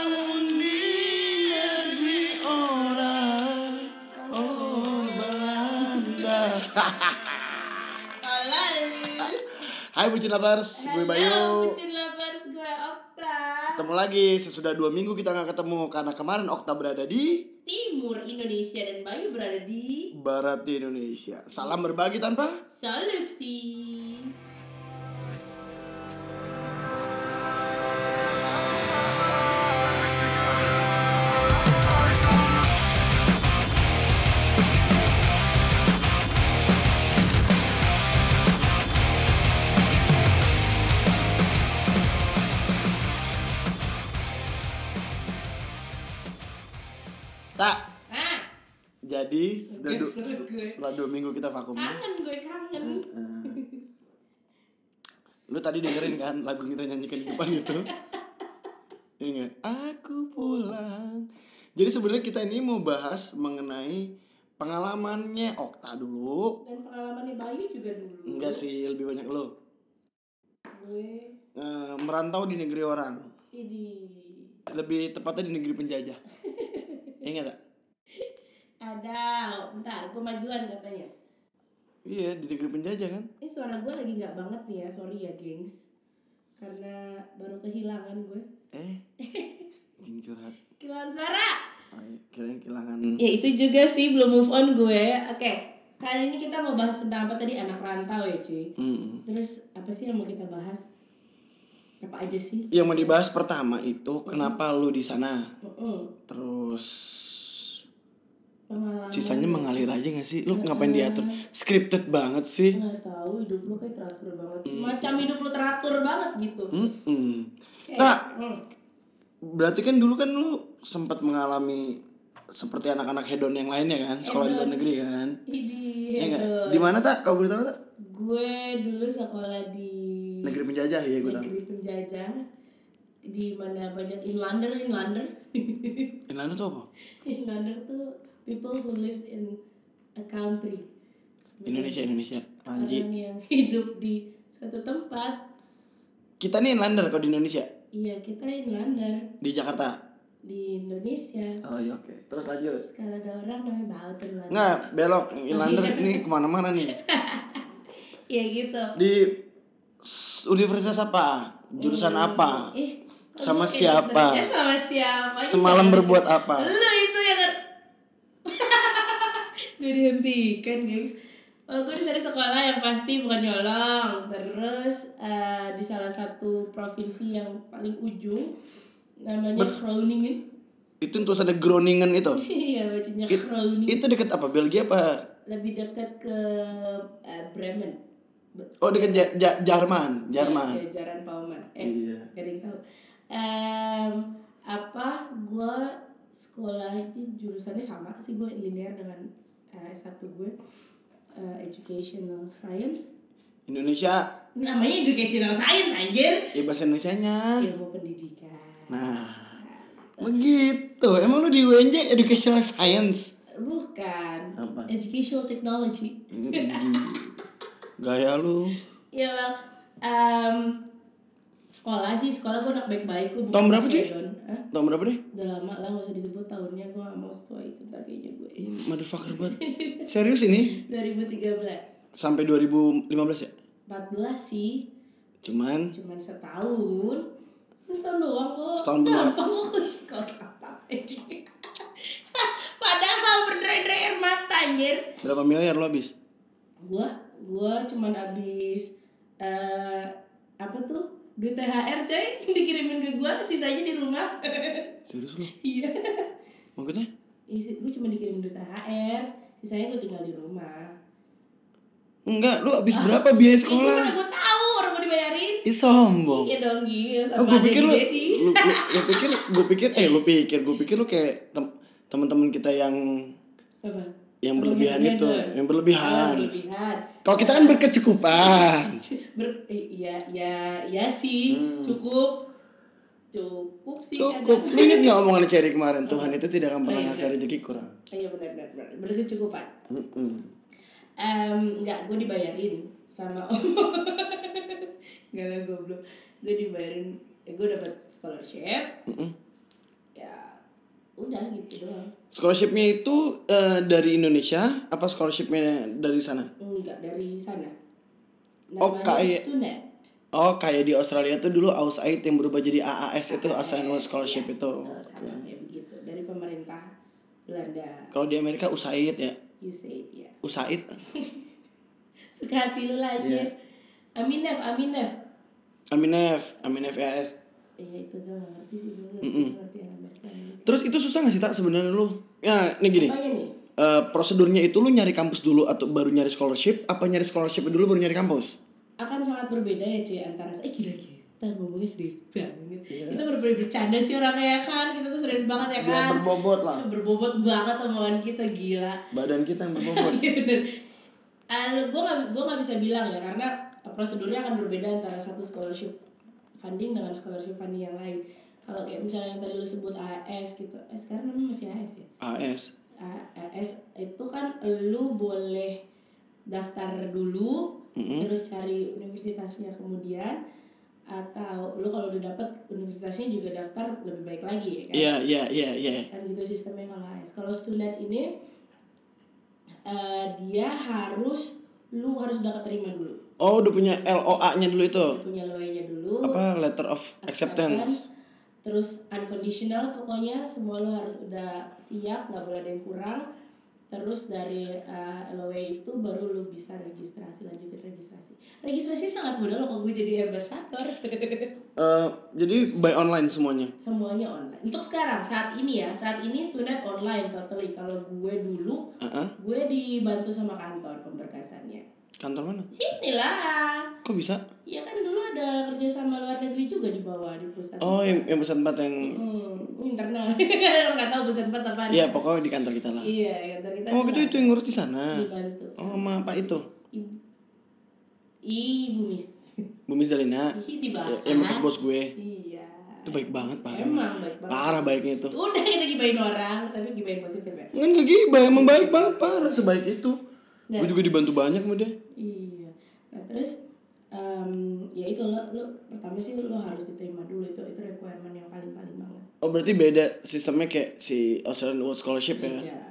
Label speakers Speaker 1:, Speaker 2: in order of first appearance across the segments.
Speaker 1: oh,
Speaker 2: Halal.
Speaker 1: Hai Bucin Lovers, gue Bayu.
Speaker 2: Bucin lovers gue Okta.
Speaker 1: Ketemu lagi sesudah dua minggu kita nggak ketemu karena kemarin Okta berada di
Speaker 2: Timur Indonesia dan Bayu berada di
Speaker 1: barat di Indonesia. Salam berbagi tanpa
Speaker 2: Sulawesi.
Speaker 1: tak.
Speaker 2: Nah,
Speaker 1: Jadi setelah, du-
Speaker 2: Oke, sulit gue.
Speaker 1: setelah dua minggu kita vakum.
Speaker 2: kangen gue kangen.
Speaker 1: Hmm. Heeh. Lu tadi dengerin kan lagu kita nyanyikan di depan itu? Iya. nggak? Aku pulang. Jadi sebenarnya kita ini mau bahas mengenai pengalamannya Okta dulu.
Speaker 2: Dan pengalamannya Bayu juga dulu.
Speaker 1: Enggak sih, lebih banyak lo.
Speaker 2: Gue
Speaker 1: Eh, merantau di negeri orang.
Speaker 2: ini
Speaker 1: Lebih tepatnya di negeri penjajah. Iya Ingat gak?
Speaker 2: ada bentar pemajuan katanya.
Speaker 1: Iya, di negeri penjajah kan?
Speaker 2: Ini suara gue lagi nggak banget nih ya, sorry ya gengs. Karena baru kehilangan gue.
Speaker 1: Eh. Anjing curhat.
Speaker 2: Kehilangan suara.
Speaker 1: Ay, Kirain kehilangan.
Speaker 2: Ya itu juga sih belum move on gue. Oke, kali ini kita mau bahas tentang apa tadi anak rantau ya cuy.
Speaker 1: Mm-mm.
Speaker 2: Terus apa sih yang mau kita bahas? Apa aja sih?
Speaker 1: Yang mau dibahas pertama itu kenapa lu di sana?
Speaker 2: Mm-mm.
Speaker 1: Terus
Speaker 2: Pengalaman.
Speaker 1: sisanya mengalir aja gak sih? Lu ngapain diatur? Scripted banget sih.
Speaker 2: Nggak tahu hidup lu kayak teratur banget. Macam hidup lu teratur banget gitu.
Speaker 1: Mm-mm.
Speaker 2: Kayak,
Speaker 1: Nah.
Speaker 2: mm.
Speaker 1: Berarti kan dulu kan lu sempat mengalami seperti anak-anak hedon yang lainnya kan, sekolah di luar negeri kan.
Speaker 2: Ini
Speaker 1: Iya enggak?
Speaker 2: aduh.
Speaker 1: Di mana tak? Kau boleh tahu tak?
Speaker 2: gue dulu sekolah di
Speaker 1: Negeri penjajah ya gue tahu.
Speaker 2: negeri penjajah di mana banyak inlander inlander
Speaker 1: Inlander tuh apa?
Speaker 2: inlander tuh people who lives in a country
Speaker 1: Indonesia Indonesia. Ranji.
Speaker 2: orang yang hidup di satu tempat
Speaker 1: Kita nih inlander kalau di Indonesia,
Speaker 2: iya kita inlander
Speaker 1: di Jakarta.
Speaker 2: di Indonesia
Speaker 1: Oh iya oke. Terus lanjut.
Speaker 2: kalau ada orang namanya baut inlander
Speaker 1: Nggak, belok inlander ini kemana-mana nih.
Speaker 2: iya gitu
Speaker 1: Di s- universitas apa? Jurusan apa?
Speaker 2: eh kok
Speaker 1: Sama
Speaker 2: lu kayak
Speaker 1: siapa?
Speaker 2: dokter? Eh, sama siapa Iya.
Speaker 1: Semalam berbuat apa?
Speaker 2: Lu itu yang nge- Gue dihentikan gengs Oh, gue di sana sekolah yang pasti bukan nyolong Terus eh, di salah satu provinsi yang paling ujung Namanya Groningen
Speaker 1: Itu terus ada Groningen itu.
Speaker 2: Iya bacanya Groningen
Speaker 1: Itu deket apa? Belgia apa?
Speaker 2: Lebih dekat ke eh, Bremen
Speaker 1: Oh deket Ja- Ja- Jerman, Jerman.
Speaker 2: Jajaran Pauman Eh
Speaker 1: Iya.
Speaker 2: gak ada yang tahu Em, apa gue sekolahnya jurusannya sama sih gue linear dengan eh, S1 gue eh, educational science
Speaker 1: Indonesia,
Speaker 2: namanya educational science anjir
Speaker 1: ya bahasa Indonesianya.
Speaker 2: ilmu pendidikan
Speaker 1: Nah, begitu. Emang lu di UNJ Educational Science?
Speaker 2: bukan
Speaker 1: Apa?
Speaker 2: educational technology
Speaker 1: Gaya lu.
Speaker 2: ya well em, sekolah sih sekolah gue anak baik-baik gue bukan
Speaker 1: Tahun berapa, Ci?
Speaker 2: hedon. Hah?
Speaker 1: Tahun berapa deh?
Speaker 2: udah lama lah gak usah disebut tahunnya gue gak mau setua itu ntar kayaknya gue
Speaker 1: Motherfucker banget. Serius ini?
Speaker 2: 2013
Speaker 1: Sampai 2015 ya?
Speaker 2: 14 sih
Speaker 1: Cuman
Speaker 2: cuman setahun Terus setahun doang kok
Speaker 1: Setahun doang.
Speaker 2: gampang kok ke sekolah apa aja padahal berderai-derai air mata anjir
Speaker 1: berapa miliar lo habis?
Speaker 2: gua gua cuman habis eh apa tuh duit THR coy dikirimin ke gua sisanya di rumah
Speaker 1: Serius lu?
Speaker 2: iya
Speaker 1: Maksudnya?
Speaker 2: Isi- gua cuma dikirim duit THR sisanya gua tinggal di rumah
Speaker 1: Enggak, lu habis berapa biaya
Speaker 2: Ih, gua
Speaker 1: sekolah?
Speaker 2: mana gua tahu orang gua dibayarin
Speaker 1: Ih sombong.
Speaker 2: iya dong gil
Speaker 1: Oh, gue pikir lu,
Speaker 2: Dedi.
Speaker 1: lu, lu, lu pikir, gue pikir, eh lu pikir, gue pikir lu kayak tem, teman-teman kita yang
Speaker 2: apa
Speaker 1: yang
Speaker 2: Apa
Speaker 1: berlebihan
Speaker 2: maksudnya
Speaker 1: itu,
Speaker 2: tuh?
Speaker 1: yang
Speaker 2: Ah,
Speaker 1: berlebihan.
Speaker 2: berlebihan
Speaker 1: Kalau kita kan berkecukupan.
Speaker 2: Ber, eh, iya iya iya sih
Speaker 1: Hmm.
Speaker 2: cukup cukup sih
Speaker 1: Cukup. Lu
Speaker 2: kadang.
Speaker 1: inget nggak omongan Cherry kemarin? Tuhan itu tidak akan pernah
Speaker 2: Iya,
Speaker 1: ngasih
Speaker 2: iya.
Speaker 1: rezeki kurang.
Speaker 2: iya benar benar benar berkecukupan
Speaker 1: Mm-mm.
Speaker 2: Em, nggak gue dibayarin sama om nggak lah goblok gue dibayarin eh, gue dapat scholarship
Speaker 1: Mm-mm.
Speaker 2: ya udah gitu doang
Speaker 1: Scholarshipnya itu eh, dari Indonesia apa scholarshipnya dari sana?
Speaker 2: enggak dari sana ya?
Speaker 1: Oh, kayak-
Speaker 2: student
Speaker 1: Oh kayak di Australia tuh dulu AUSAID yang berubah jadi AAS itu
Speaker 2: AAS,
Speaker 1: Australian Award Scholarship
Speaker 2: ya.
Speaker 1: itu.
Speaker 2: Eh, sama kayak begitu dari pemerintah Belanda
Speaker 1: Kalau di Amerika USAID ya,
Speaker 2: USAID ya
Speaker 1: USAID.
Speaker 2: suka hati lu lah aja
Speaker 1: Iya.
Speaker 2: Aminef Aminef
Speaker 1: Aminef, Aminef EAS.
Speaker 2: ya itu gue gak ngerti sih gue
Speaker 1: Mm-mm.
Speaker 2: ngerti yang Amerika
Speaker 1: Terus itu susah gak sih tak sebenarnya lu? Ya, ini gini.
Speaker 2: apanya nih
Speaker 1: eh, prosedurnya itu lu nyari kampus dulu atau baru nyari scholarship? Apa nyari scholarship dulu baru nyari kampus?
Speaker 2: akan sangat berbeda ya cuy antara eh gila kita ngomongnya serius banget
Speaker 1: Iya.
Speaker 2: kita bener-bener bercanda sih orangnya ya kan kita tuh serius banget ya kan
Speaker 1: Biar berbobot lah.
Speaker 2: berbobot banget omongan kita gila
Speaker 1: Badan kita yang berbobot.
Speaker 2: Iya bener. gue gak, gua nggak bisa bilang ya karena prosedurnya akan berbeda antara satu scholarship funding dengan scholarship funding yang lain. Kalau kayak misalnya yang tadi lu sebut AS gitu, eh sekarang namanya masih AS ya.
Speaker 1: AS.
Speaker 2: AS E itu kan lu boleh daftar dulu,
Speaker 1: Mm-mm.
Speaker 2: terus cari universitasnya kemudian atau lu kalau udah dapet universitasnya juga daftar lebih baik lagi ya kan?
Speaker 1: Iya, iya, iya, iya.
Speaker 2: kan gitu sistemnya kalau AS kalau student ini eh, dia harus lu harus udah keterima dulu
Speaker 1: Oh, udah punya LOA-nya dulu itu.
Speaker 2: punya LOE-nya dulu
Speaker 1: Apa letter of acceptance?
Speaker 2: terus unconditional pokoknya semua lu harus udah siap nggak boleh ada yang kurang terus dari eh, LOE itu baru lu bisa registrasi lanjutin registrasi registrasi sangat mudah loh kalau gue jadi ambassador
Speaker 1: Eh, jadi by online semuanya.
Speaker 2: semuanya online untuk sekarang saat ini ya saat ini student online totally kalau gue dulu
Speaker 1: Heeh.
Speaker 2: Gue dibantu sama kantor pemberkasannya.
Speaker 1: Kantor mana?
Speaker 2: Inilah.
Speaker 1: Kok bisa?
Speaker 2: Ya kan dulu ada kerja sama luar negeri juga di bawah di pusat.
Speaker 1: Oh, yang, yang pusat tempat yang
Speaker 2: Hmm, internal. Enggak tahu pusat tempat apa.
Speaker 1: Iya, pokoknya di kantor kita lah.
Speaker 2: Iya, kantor kita.
Speaker 1: Oh, gitu itu yang ngurus di sana.
Speaker 2: dibantu.
Speaker 1: Oh, sama apa itu?
Speaker 2: Ibu Ibu Miss.
Speaker 1: Bumi Zalina.
Speaker 2: Ih, di bawah.
Speaker 1: Ya, yang bekas bos gue.
Speaker 2: Iya.
Speaker 1: Itu baik banget, parah.
Speaker 2: Emang baik banget.
Speaker 1: Parah baiknya itu.
Speaker 2: Udah kita gibain orang, tapi gibain positif ya.
Speaker 1: Kan gak gibah, emang baik banget, parah sebaik itu.
Speaker 2: Nah.
Speaker 1: Gue juga dibantu banyak sama dia.
Speaker 2: Iya. Nah, terus em, ya itu lo, lo pertama sih lo harus diterima dulu itu itu requirement yang paling paling banget.
Speaker 1: Oh, berarti beda sistemnya kayak si Australian Award Scholarship ya.
Speaker 2: Iya.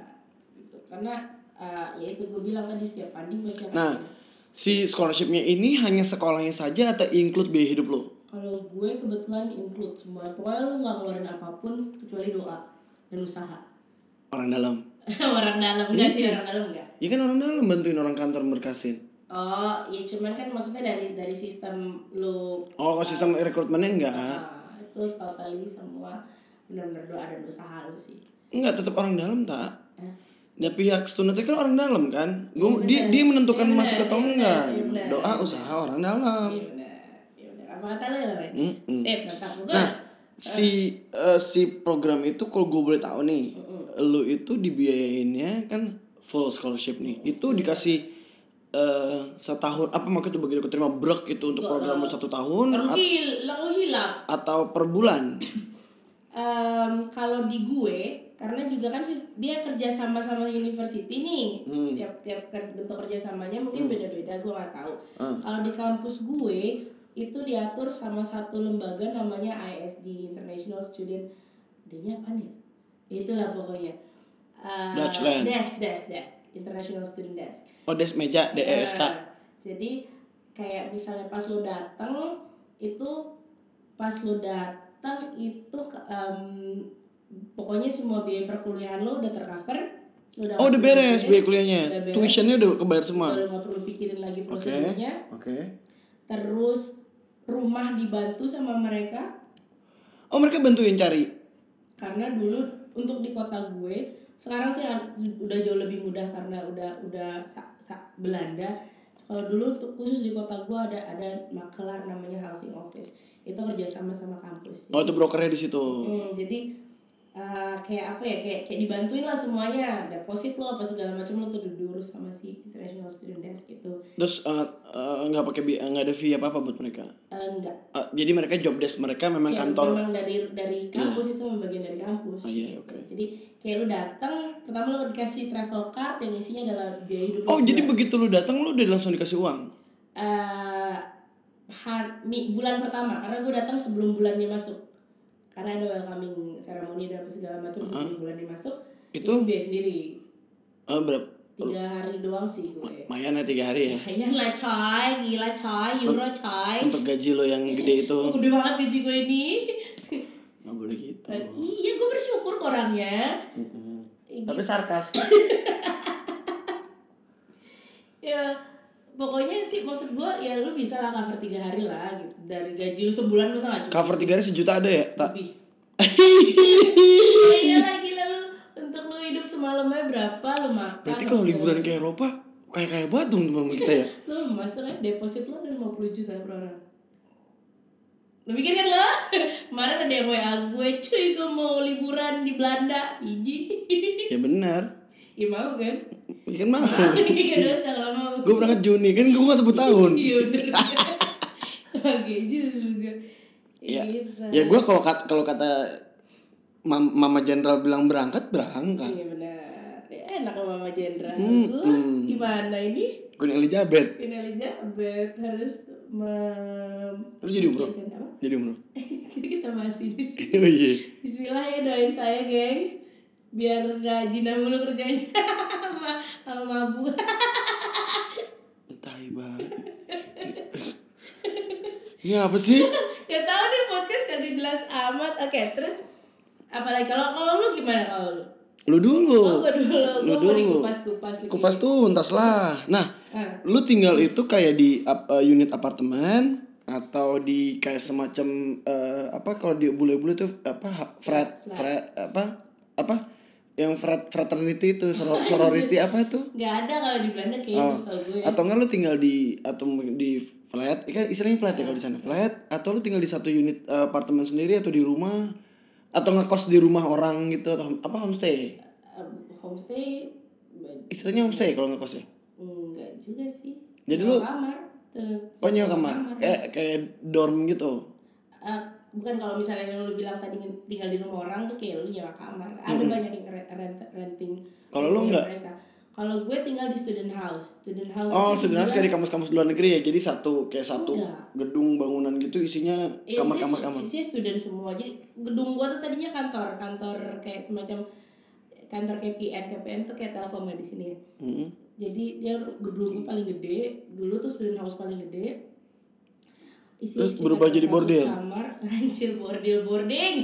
Speaker 2: Gitu. Karena eh, ya itu gue bilang tadi setiap funding pasti akan
Speaker 1: Nah.
Speaker 2: ada.
Speaker 1: Si scholarshipnya ini hanya sekolahnya saja atau include biaya hidup lo?
Speaker 2: Kalau gue kebetulan include semua, pokoknya lo nggak ngeluarin apapun kecuali doa dan usaha.
Speaker 1: Orang dalam.
Speaker 2: orang dalam enggak sih orang dalam enggak.
Speaker 1: Ya kan orang dalam bantuin orang kantor berkasin.
Speaker 2: Oh, ya cuman kan maksudnya dari dari sistem lo
Speaker 1: Oh, kalau sistem rekrutmennya enggak.
Speaker 2: ah, itu totally semua benar-benar doa dan usaha lo sih.
Speaker 1: Enggak, tetap orang dalam tak.
Speaker 2: Hah?
Speaker 1: Ya pihak student itu kan orang dalam kan. Gua
Speaker 2: Iya,
Speaker 1: dia
Speaker 2: benar.
Speaker 1: dia menentukan
Speaker 2: Iya,
Speaker 1: masuk
Speaker 2: benar,
Speaker 1: atau
Speaker 2: iya,
Speaker 1: enggak.
Speaker 2: benar, iya,
Speaker 1: gitu.
Speaker 2: benar.
Speaker 1: Doa usaha orang dalam.
Speaker 2: Iya benar. Iya benar. Apa kata lo ya, Bay?
Speaker 1: Mm-mm.
Speaker 2: Sip, mantap. Bagus.
Speaker 1: Hmm. Nah, si eh, si program itu kalau gue boleh tahu nih,
Speaker 2: Mm-mm.
Speaker 1: lu itu dibiayainnya kan full scholarship nih. Itu dikasih eh, setahun apa makanya tuh begitu keterima brek itu untuk
Speaker 2: Enggak,
Speaker 1: program lu
Speaker 2: enggak.
Speaker 1: satu tahun
Speaker 2: Kalau
Speaker 1: at-
Speaker 2: gil, kalau hilaf.
Speaker 1: atau per bulan?
Speaker 2: Em, kalau di gue, karena juga kan sis- dia kerja sama sama university nih.
Speaker 1: Hmm.
Speaker 2: Tiap-tiap ker- bentuk kerjasamanya mungkin beda-beda, gue nggak tahu.
Speaker 1: Ah.
Speaker 2: Kalau di kampus gue itu diatur sama satu lembaga namanya ISD International Student. D-nya apa nih? Itulah pokoknya. Eh,
Speaker 1: Dutchland.
Speaker 2: Des, des, des. International Student Desk.
Speaker 1: Oh, des meja DESK.
Speaker 2: Nah, Jadi kayak misalnya pas lo datang itu pas lo datang itu ke- em, pokoknya semua biaya perkuliahan lo udah tercover. Lo udah
Speaker 1: Oh, udah beres biaya
Speaker 2: Iya. Udah
Speaker 1: kuliahnya.
Speaker 2: beres. Iya.
Speaker 1: Tuitionnya udah kebayar semua.
Speaker 2: Lo nggak perlu pikirin lagi
Speaker 1: Oke.
Speaker 2: prosedurnya.
Speaker 1: Oke.
Speaker 2: Terus rumah dibantu sama mereka
Speaker 1: Oh, mereka bantuin cari.
Speaker 2: karena dulu untuk di kota gue sekarang sih an- udah jauh lebih mudah karena udah udah sa- sa- Belanda kalau dulu untuk khusus di kota gue ada ada makelar namanya housing office itu kerjasama sama kampus
Speaker 1: Oh, itu brokernya di situ.
Speaker 2: Hmm, jadi eh, kayak apa ya kayak kayak dibantuin lah semuanya deposit lo apa segala macam lo tuh diurus sama si international student desk gitu
Speaker 1: Terus eh, eh, nggak pakai bi- nggak ada fee apa apa buat mereka.
Speaker 2: Eh, enggak
Speaker 1: Eh, jadi mereka job desk mereka memang
Speaker 2: Kayak
Speaker 1: kantor. Iya.
Speaker 2: memang dari dari kampus itu memang bagian dari kampus gitu.
Speaker 1: Oh, iya, oke.
Speaker 2: jadi kayak lu datang pertama lu dikasih travel card yang isinya adalah biaya hidup lu
Speaker 1: Oh, jadi
Speaker 2: sebulan.
Speaker 1: begitu lu datang lu udah langsung dikasih uang.
Speaker 2: Eh, har- mi- bulan pertama karena gue datang sebelum bulannya masuk karena ada welcoming ceremony dan apa segala macam
Speaker 1: Uh-huh.
Speaker 2: sebelum bulan dimasuk
Speaker 1: Itu
Speaker 2: itu biaya sendiri
Speaker 1: eh, berapa?
Speaker 2: tiga hari doang sih gue
Speaker 1: Lumayan ya tiga hari ya.
Speaker 2: kayaknya lah coy gila coy euro coy
Speaker 1: Untuk gaji lo yang gede itu
Speaker 2: Oh, gede banget gaji gue ini
Speaker 1: nggak boleh gitu.
Speaker 2: Eh, iya gue bersyukur ke orangnya
Speaker 1: Mm-mm.
Speaker 2: Ini-
Speaker 1: Tapi sarkas.
Speaker 2: ya pokoknya sih maksud gue ya lu bisa lah cover tiga hari lah gitu. dari gaji lu sebulan masa nggak cukup
Speaker 1: Cover tiga hari sejuta ada ya? Tak.
Speaker 2: lebih iya lah gila lu untuk lu hidup semalamnya berapa lu makan
Speaker 1: Berarti kalau
Speaker 2: apa segala
Speaker 1: liburan
Speaker 2: macam.
Speaker 1: ke Eropa kayak kayak banget dong teman kita ya.
Speaker 2: lu masalahnya deposit lu ada 50 juta per orang lu pikir kan lo kemarin ada yang WA gue cuy gue mau liburan di Belanda biji
Speaker 1: Ya benar.
Speaker 2: ya mau kan
Speaker 1: Ya kan mau.
Speaker 2: gak dosa gak mau
Speaker 1: Gue berangkat Juni kan gue gak sebut tahun.
Speaker 2: iya bener oke juga
Speaker 1: Iya.
Speaker 2: Gila.
Speaker 1: Ya gue kalau kat- kalau kata mam- Mama Jenderal bilang berangkat berangkat.
Speaker 2: Iya benar. Ya, enak sama Mama Jenderal.
Speaker 1: Hmm,
Speaker 2: Gua
Speaker 1: hmm.
Speaker 2: gimana ini?
Speaker 1: Queen Elizabeth
Speaker 2: Queen Elizabeth harus mem
Speaker 1: Lu jadi umroh?
Speaker 2: Apa?
Speaker 1: jadi umroh.
Speaker 2: kita bahas ini sih.
Speaker 1: Oh iya.
Speaker 2: Bismillah ya doain saya, gengs. Biar nggak jina mulu kerjanya sama sama mabu.
Speaker 1: Tai banget. Ini apa sih?
Speaker 2: Gak tahu nih podcast kagak jelas amat. Oke, terus apalagi kalau kalau lu gimana kalau lu?
Speaker 1: Lu
Speaker 2: Oh,
Speaker 1: dulu.
Speaker 2: gua dulu,
Speaker 1: Lu
Speaker 2: gua mau
Speaker 1: dulu.
Speaker 2: dikupas-kupas nih.
Speaker 1: Kupas tuntas lah. Nah,
Speaker 2: Ah,
Speaker 1: lu tinggal itu kayak di ap- eh, unit apartemen atau di kayak semacam eh, apa kalau di bule-bule tuh apa ha- frat
Speaker 2: Flat.
Speaker 1: frat apa apa yang frat fraternity itu sor- sorority apa tuh
Speaker 2: nggak ada kalau di Belanda kayaknya
Speaker 1: Oh,
Speaker 2: setahu gue. ya.
Speaker 1: atau enggak lu tinggal di atau mungkin di flat kan istilahnya flat ya kalau di sana flat atau lu tinggal di satu unit eh, apartemen sendiri atau di rumah atau ngekos di rumah orang gitu atau apa homestay
Speaker 2: Um, homestay ba-
Speaker 1: istilahnya homestay kalau ngekos ya
Speaker 2: enggak juga sih
Speaker 1: Jadi
Speaker 2: Nyewa
Speaker 1: lu-
Speaker 2: kamar eh,
Speaker 1: oh nyewa
Speaker 2: nyewa
Speaker 1: kamar kayak kayak dorm gitu
Speaker 2: Eh, bukan kalau misalnya yang lu bilang tadi nge- tinggal di rumah orang tuh kayak lu nyewa kamar ada
Speaker 1: Mm-mm.
Speaker 2: banyak yang rent, rent- renting
Speaker 1: Kalau lu
Speaker 2: punya
Speaker 1: enggak?
Speaker 2: mereka. kalau gue tinggal di student house student house
Speaker 1: Oh,
Speaker 2: itu
Speaker 1: sebenarnya
Speaker 2: dibilang-
Speaker 1: kayak di kampus-kampus luar negeri ya. Jadi satu kayak satu
Speaker 2: Enggak.
Speaker 1: gedung bangunan gitu isinya
Speaker 2: Iya,
Speaker 1: kamar-kamar
Speaker 2: isinya-
Speaker 1: kamar.
Speaker 2: isinya student semua jadi gedung gua tuh tadinya kantor kantor kayak semacam kantor KPN KPN tuh kayak telkom ya di sini ya
Speaker 1: Mm-mm.
Speaker 2: jadi dia gedung gua paling gede dulu tuh student house paling gede Isinya
Speaker 1: Terus
Speaker 2: sekitar
Speaker 1: berubah jadi
Speaker 2: 400
Speaker 1: bordel?
Speaker 2: kamar anjir bordil boarding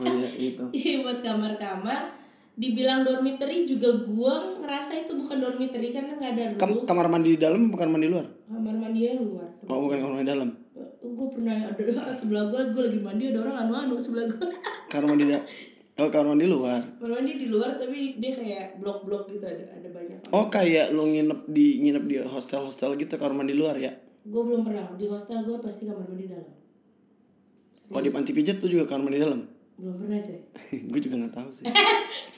Speaker 1: Oh, iya, gitu.
Speaker 2: Iya, buat kamar-kamar dibilang dormitory juga gua ngerasa itu bukan dormitory karena nggak ada
Speaker 1: Kam-
Speaker 2: room
Speaker 1: kamar mandi di dalam bukan mandi luar.
Speaker 2: kamar mandinya luar
Speaker 1: Oh, bukan kamar mandi dalam.
Speaker 2: gue pernah ada sebelah gue gue lagi mandi ada orang anu-anu sebelah gue
Speaker 1: Kamar mandi da- Oh, kamar mandi luar.
Speaker 2: kamar mandi di luar tapi dia kayak blok-blok gitu ada ada banyak
Speaker 1: Oh, kayak lu nginep di nginep di hostel-hostel gitu kamar mandi luar ya.
Speaker 2: gue belum pernah di hostel gue pasti kamar mandi dalam
Speaker 1: Oh, di panti pijat tuh juga kamar mandi dalam.
Speaker 2: belum pernah coy
Speaker 1: Gue juga nggak tahu sih.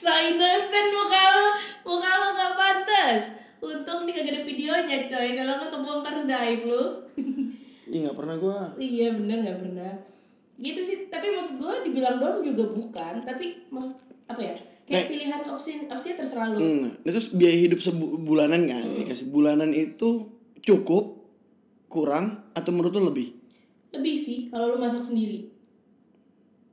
Speaker 2: so innocent muka lu muka lu gak pantas untung nih kagak ada videonya coy kalau nggak terbongkar udah aib lu
Speaker 1: Ih, nggak pernah gua.
Speaker 2: iya bener nggak pernah gitu sih tapi maksud gue dibilang dorm juga bukan tapi maksud apa ya kayak
Speaker 1: Nah.
Speaker 2: pilihan opsi opsi terserah lu
Speaker 1: Hmm. Nah, terus biaya hidup sebulanan kan
Speaker 2: Hmm.
Speaker 1: dikasih bulanan itu cukup kurang atau menurut lu lebih?
Speaker 2: lebih sih kalau lu masak sendiri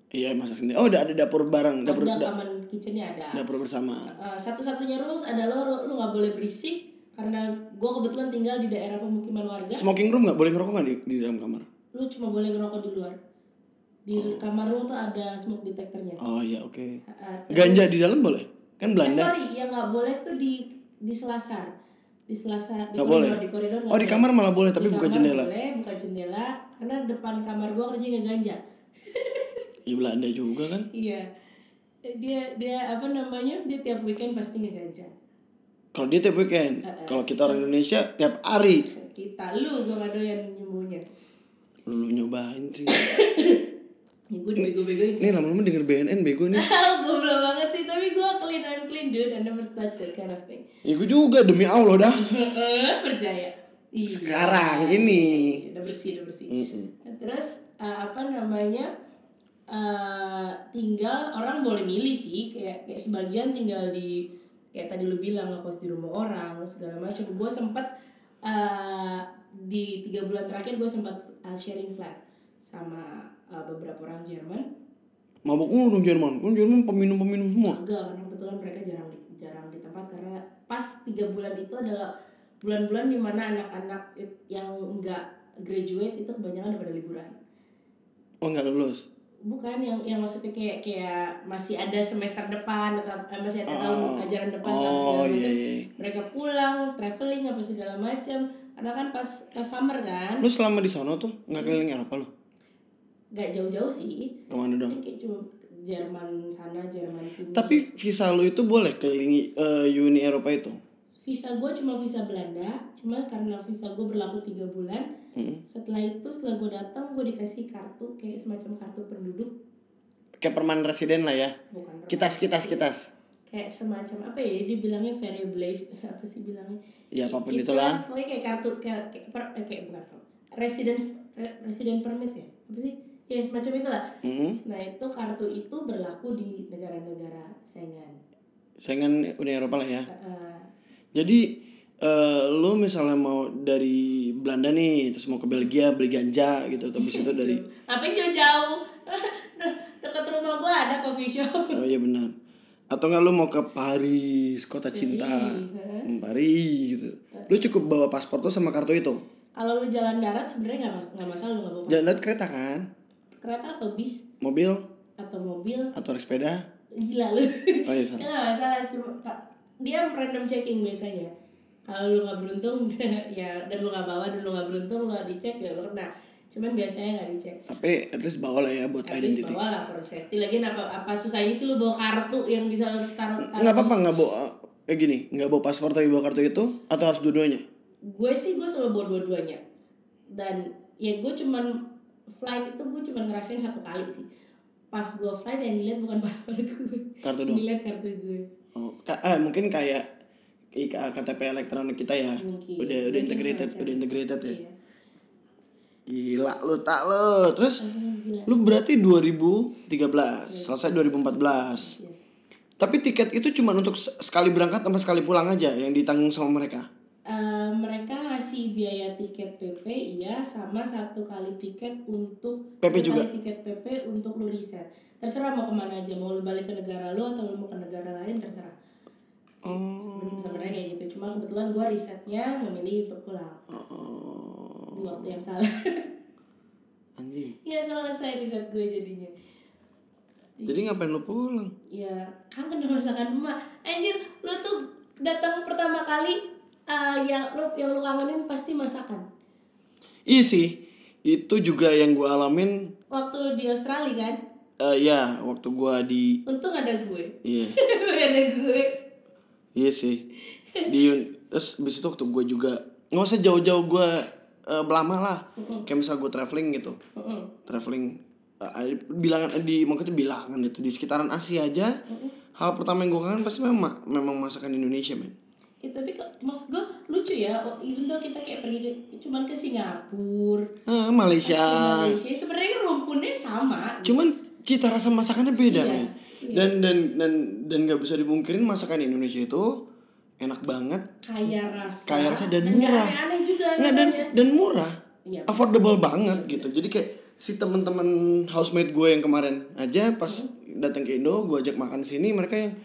Speaker 1: Iya masak sendiri. Oh udah ada dapur bareng, dapur
Speaker 2: ada
Speaker 1: da-
Speaker 2: common kitchennya ada
Speaker 1: dapur bersama.
Speaker 2: Uh, satu-satunya rules adalah lu, lu gak boleh berisik karena gue kebetulan tinggal di daerah pemukiman warga
Speaker 1: Smoking room nggak boleh ngerokok nggak di, di dalam kamar?
Speaker 2: lu cuma boleh ngerokok di luar di kamar lu tuh ada smoke detectornya
Speaker 1: Oh iya oke.
Speaker 2: Uh, terus-
Speaker 1: Ganja di dalam boleh? Kan
Speaker 2: eh,
Speaker 1: Belanda.
Speaker 2: sorry yang nggak boleh tuh di di selasar di selasar di
Speaker 1: Nggak
Speaker 2: koridor
Speaker 1: boleh?
Speaker 2: di koridor nggak
Speaker 1: Oh di
Speaker 2: boleh.
Speaker 1: kamar malah boleh tapi
Speaker 2: Iya, Di
Speaker 1: buka
Speaker 2: kamar
Speaker 1: jendela.
Speaker 2: boleh buka jendela karena depan kamar gue kerja nggak ganja
Speaker 1: Iya Belanda juga kan.
Speaker 2: iya dia dia apa namanya dia tiap weekend pasti ngeganja
Speaker 1: Kalau dia tiap weekend,
Speaker 2: Uh-uh.
Speaker 1: kalau kita orang Indonesia tiap hari.
Speaker 2: kita lu gue gak doyan nyembuhnya
Speaker 1: Lu nyobain sih.
Speaker 2: gue Ya, dibego-begoin
Speaker 1: Nih lama-lama denger BNN bego nih.
Speaker 2: goblok banget sih tapi gue clean I'm clean dude I never touch that kind of thing
Speaker 1: Ya gue juga demi Allah dah.
Speaker 2: percaya Iya.
Speaker 1: Sekarang ini.
Speaker 2: udah bersih udah bersih
Speaker 1: Mm-mm.
Speaker 2: terus eh, apa namanya eh, tinggal orang boleh milih sih kayak kayak sebagian tinggal di kayak tadi lu bilang ngekos di rumah orang segala macam gue sempet eh, di tiga bulan terakhir gue sempat eh, sharing flat sama eh, beberapa orang Jerman
Speaker 1: Mabuk mulu dong Jerman. Kan Jerman peminum-peminum semua.
Speaker 2: Enggak, karena kebetulan mereka jarang di, jarang di tempat karena pas tiga bulan itu adalah bulan-bulan dimana anak-anak it- yang enggak graduate itu kebanyakan udah pada liburan.
Speaker 1: Oh nggak lulus.
Speaker 2: Bukan yang yang maksudnya kayak kayak masih ada semester depan atau eh, masih ada tahun
Speaker 1: Oh.
Speaker 2: ajaran depan tahun segala
Speaker 1: Oh
Speaker 2: macam.
Speaker 1: iya. iya.
Speaker 2: Mereka pulang, traveling apa segala macam. Karena kan pas pas summer kan,
Speaker 1: Lu selama di sana tuh nggak keliling Eropa lu?
Speaker 2: nggak jauh-jauh sih.
Speaker 1: Kemana dong?
Speaker 2: Ini kayak cuma Jerman sana, Jerman sini.
Speaker 1: Iya. Tapi visa lu itu boleh keliling eh, Uni Eropa itu?
Speaker 2: visa gue cuma visa Belanda, cuma karena visa gue berlaku tiga bulan,
Speaker 1: Mm.
Speaker 2: setelah itu setelah gue datang gue dikasih kartu kayak semacam kartu penduduk
Speaker 1: Kayak permanent resident lah ya.
Speaker 2: bukan permanen.
Speaker 1: Kitas kitas kitas.
Speaker 2: kayak semacam apa ya dibilangnya variable life apa sih bilangnya
Speaker 1: Ya apapun
Speaker 2: Itu
Speaker 1: itulah.
Speaker 2: lah, pokoknya kayak kartu kayak kayak, per, eh, kayak bukan per, residence re- resident permit ya apa sih ya semacam itulah
Speaker 1: Mm.
Speaker 2: nah itu kartu itu berlaku di negara-negara saingan
Speaker 1: Saingan Uni Eropa lah ya.
Speaker 2: Eh, eh,
Speaker 1: Jadi eh, lu misalnya mau dari Belanda nih terus mau ke Belgia beli ganja gitu terus itu dari
Speaker 2: ngapain jauh-jauh dekat rumah gue ada coffee shop
Speaker 1: Oh iya benar. Atau nggak lu mau ke Paris, kota cinta.
Speaker 2: Heeh.
Speaker 1: Hmm, Paris gitu. Lu cukup bawa paspor tuh sama kartu itu.
Speaker 2: kalau lu jalan darat sebenarnya nggak mas- nggak masalah lu nggak bawa
Speaker 1: Jangan lihat kereta kan,
Speaker 2: kereta atau bis
Speaker 1: mobil
Speaker 2: atau mobil
Speaker 1: atau naik sepeda.
Speaker 2: gila lu
Speaker 1: Oh iya.
Speaker 2: ya
Speaker 1: salah.
Speaker 2: nggak masalah cuma Kak, dia random checking biasanya kalau lu nggak beruntung ya dan lu nggak bawa dan lu nggak beruntung lu nggak dicek ya lu kena cuman biasanya nggak dicek
Speaker 1: Tapi at least bawa lah ya buat
Speaker 2: tapi
Speaker 1: identity.
Speaker 2: bawa lah for safety lagi apa apa susahnya sih lu bawa kartu yang bisa lu taruh taruh
Speaker 1: Nggak apa-apa nggak bawa eh gini, nggak bawa paspor tapi bawa kartu itu atau harus dua-duanya?
Speaker 2: gue sih gue selalu bawa dua-duanya dan ya gue cuman flight itu gue cuman ngerasain satu kali sih pas gue flight yang dilihat bukan paspor gue
Speaker 1: Kartu doang.
Speaker 2: dilihat kartu gue
Speaker 1: Oh, ka- ah, mungkin kayak IKA KTP elektronik kita ya.
Speaker 2: mungkin
Speaker 1: Udah udah
Speaker 2: Mungkin
Speaker 1: integrated,
Speaker 2: semacam.
Speaker 1: udah integrated ya.
Speaker 2: Iya.
Speaker 1: Gila lu tak lu. Terus
Speaker 2: Alhamdulillah.
Speaker 1: lu berarti 2013, selesai 2014.
Speaker 2: Yes.
Speaker 1: Tapi tiket itu cuma untuk se- sekali berangkat sama sekali pulang aja yang ditanggung sama mereka.
Speaker 2: Eh, mereka ngasih biaya tiket PP iya sama satu kali tiket untuk
Speaker 1: PP juga.
Speaker 2: satu kali tiket PP untuk lu riset terserah mau kemana aja mau lu balik ke negara lu atau lu mau ke negara lain terserah
Speaker 1: Oh.
Speaker 2: sebenarnya kayak gitu cuma kebetulan gue risetnya memilih untuk pulang di waktu yang salah
Speaker 1: Oh. Anjing.
Speaker 2: ya selesai riset gue jadinya
Speaker 1: Jadi ngapain lu pulang?
Speaker 2: ya kan kena masakan emak anjir lu tuh datang pertama kali eh, yang lu yang lu kangenin pasti masakan
Speaker 1: Iya sih. Itu juga yang gua alamin
Speaker 2: waktu lu di Australia kan
Speaker 1: eh, ya waktu gua di
Speaker 2: untung ada gue
Speaker 1: iya.
Speaker 2: ada gue
Speaker 1: Iya sih. Di Yun- terus bis itu waktu gua juga nggak usah jauh-jauh gua eh, berlama lah.
Speaker 2: Mm-mm.
Speaker 1: Kayak misal gua traveling gitu.
Speaker 2: Mm-mm.
Speaker 1: Traveling eh, ada- bilangan di maksudnya bilangan itu di sekitaran Asia aja
Speaker 2: Mm-mm.
Speaker 1: hal pertama yang gue kangen pasti memang ma- memang masakan Indonesia men
Speaker 2: Ya, tapi kok maksud gue lucu ya oh, even though kita kayak pergi ke, cuman ke Singapura
Speaker 1: Ah,
Speaker 2: ke
Speaker 1: Malaysia
Speaker 2: Malaysia sebenarnya rumpunnya sama gitu.
Speaker 1: cuman cita rasa masakannya beda
Speaker 2: Iya,
Speaker 1: men
Speaker 2: iya.
Speaker 1: dan dan dan dan nggak bisa dipungkirin masakan Indonesia itu enak banget
Speaker 2: kaya rasa
Speaker 1: Kaya rasa dan
Speaker 2: nggak
Speaker 1: murah.
Speaker 2: aneh-aneh juga
Speaker 1: nggak dan
Speaker 2: rasanya.
Speaker 1: dan murah
Speaker 2: Iya.
Speaker 1: affordable banget gitu jadi kayak si teman-teman housemate gue yang kemarin aja pas datang ke Indo gue ajak makan sini mereka yang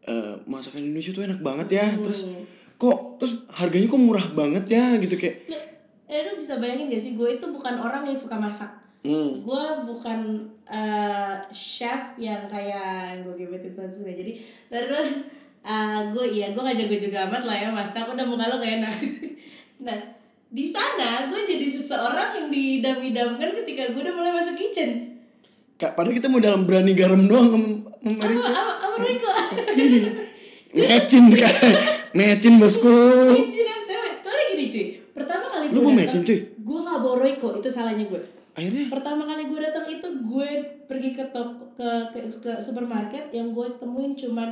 Speaker 1: "Eh, masakan Indonesia tuh enak banget ya terus
Speaker 2: Hmm.
Speaker 1: kok terus harganya kok murah banget ya gitu kayak
Speaker 2: Lu- eh lu bisa bayangin gak sih gue itu bukan orang yang suka masak
Speaker 1: hmm.
Speaker 2: gue bukan eh, chef yang kayak gue gebetin terus ya jadi terus eh, gue iya gue gak jago-jago amat lah ya masak udah muka lo gak enak nah di sana gue jadi seseorang yang didam-idamkan ketika gue udah mulai masuk kitchen
Speaker 1: Kak, padahal kita mau dalam berani garam doang mem- memeri
Speaker 2: sama sama Riko
Speaker 1: mecin kak mecin bosku
Speaker 2: kitchen FTW soalnya gini cuy pertama kali
Speaker 1: lu mau mecin cuy
Speaker 2: gue gak bawa Royco itu salahnya gue
Speaker 1: akhirnya
Speaker 2: pertama kali gue datang itu gue pergi ke toko ke, ke, ke supermarket yang gue temuin cuman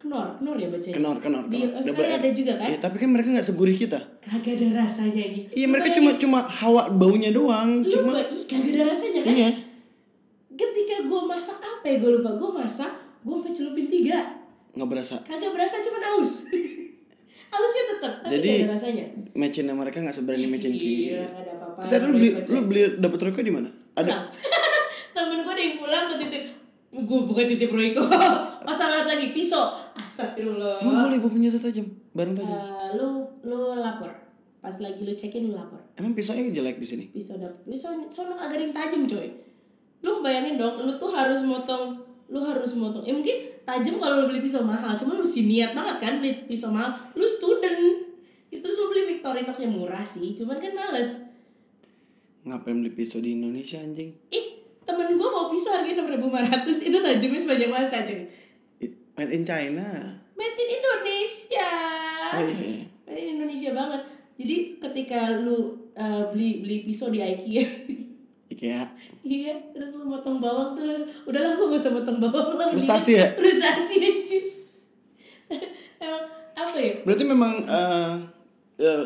Speaker 2: knor knor ya bacanya
Speaker 1: kenor kenor
Speaker 2: di
Speaker 1: kenor double
Speaker 2: Australia
Speaker 1: R.
Speaker 2: ada juga kan
Speaker 1: Nah, Ya, tapi kan mereka nggak segurih kita
Speaker 2: kagak ada rasanya ini
Speaker 1: iya mereka cuma cuma hawa baunya doang
Speaker 2: lu
Speaker 1: cuma
Speaker 2: cuma ih kagak ada rasanya kan
Speaker 1: iya
Speaker 2: ketika gue masak apa ya gue lupa gue masak gue sampai celupin tiga
Speaker 1: nggak berasa
Speaker 2: kagak berasa cuman aus ausnya tetap tapi
Speaker 1: Jadi,
Speaker 2: gak ada rasanya
Speaker 1: mecinnya mereka nggak seberani mecin
Speaker 2: Iya,
Speaker 1: kita
Speaker 2: gak ada apa-apa
Speaker 1: bisa lu
Speaker 2: Royco,
Speaker 1: beli
Speaker 2: cuy.
Speaker 1: lu beli dapet rokok di mana Ada-
Speaker 2: temen gue ada yang pulang gue titip gue bukan titip Royko masalah lagi pisau astagfirullah
Speaker 1: Emang boleh bawa senjata tajam? Barang tajam.
Speaker 2: Eh, lu lu lapor pas lagi lu cekin lu lapor
Speaker 1: Emang pisaunya jelek di sini?
Speaker 2: pisau dapet pisau sono agak ada yang tajam coy lu bayangin dong lu tuh harus motong lu harus motong ya mungkin tajam kalau lu beli pisau mahal cuman lu sih niat banget kan beli pisau mahal lu student itu terus lu beli Victorinox yang murah sih cuman kan males
Speaker 1: Ngapain beli pisau di Indonesia anjing?
Speaker 2: ih temen gua bawa pisau harganya 6500 itu tajamnya sepanjang masa coy
Speaker 1: It- Made in China.
Speaker 2: made in Indonesia
Speaker 1: Oh iya, iya.
Speaker 2: made in Indonesia banget jadi ketika lu eh, beli beli pisau di IKEA
Speaker 1: IKEA.
Speaker 2: Iya, terus lu motong bawang tuh Udahlah gue gak usah motong bawang lah
Speaker 1: Frustasi ya?
Speaker 2: Frustasi aja Emang apa ya?
Speaker 1: Berarti memang eh eh,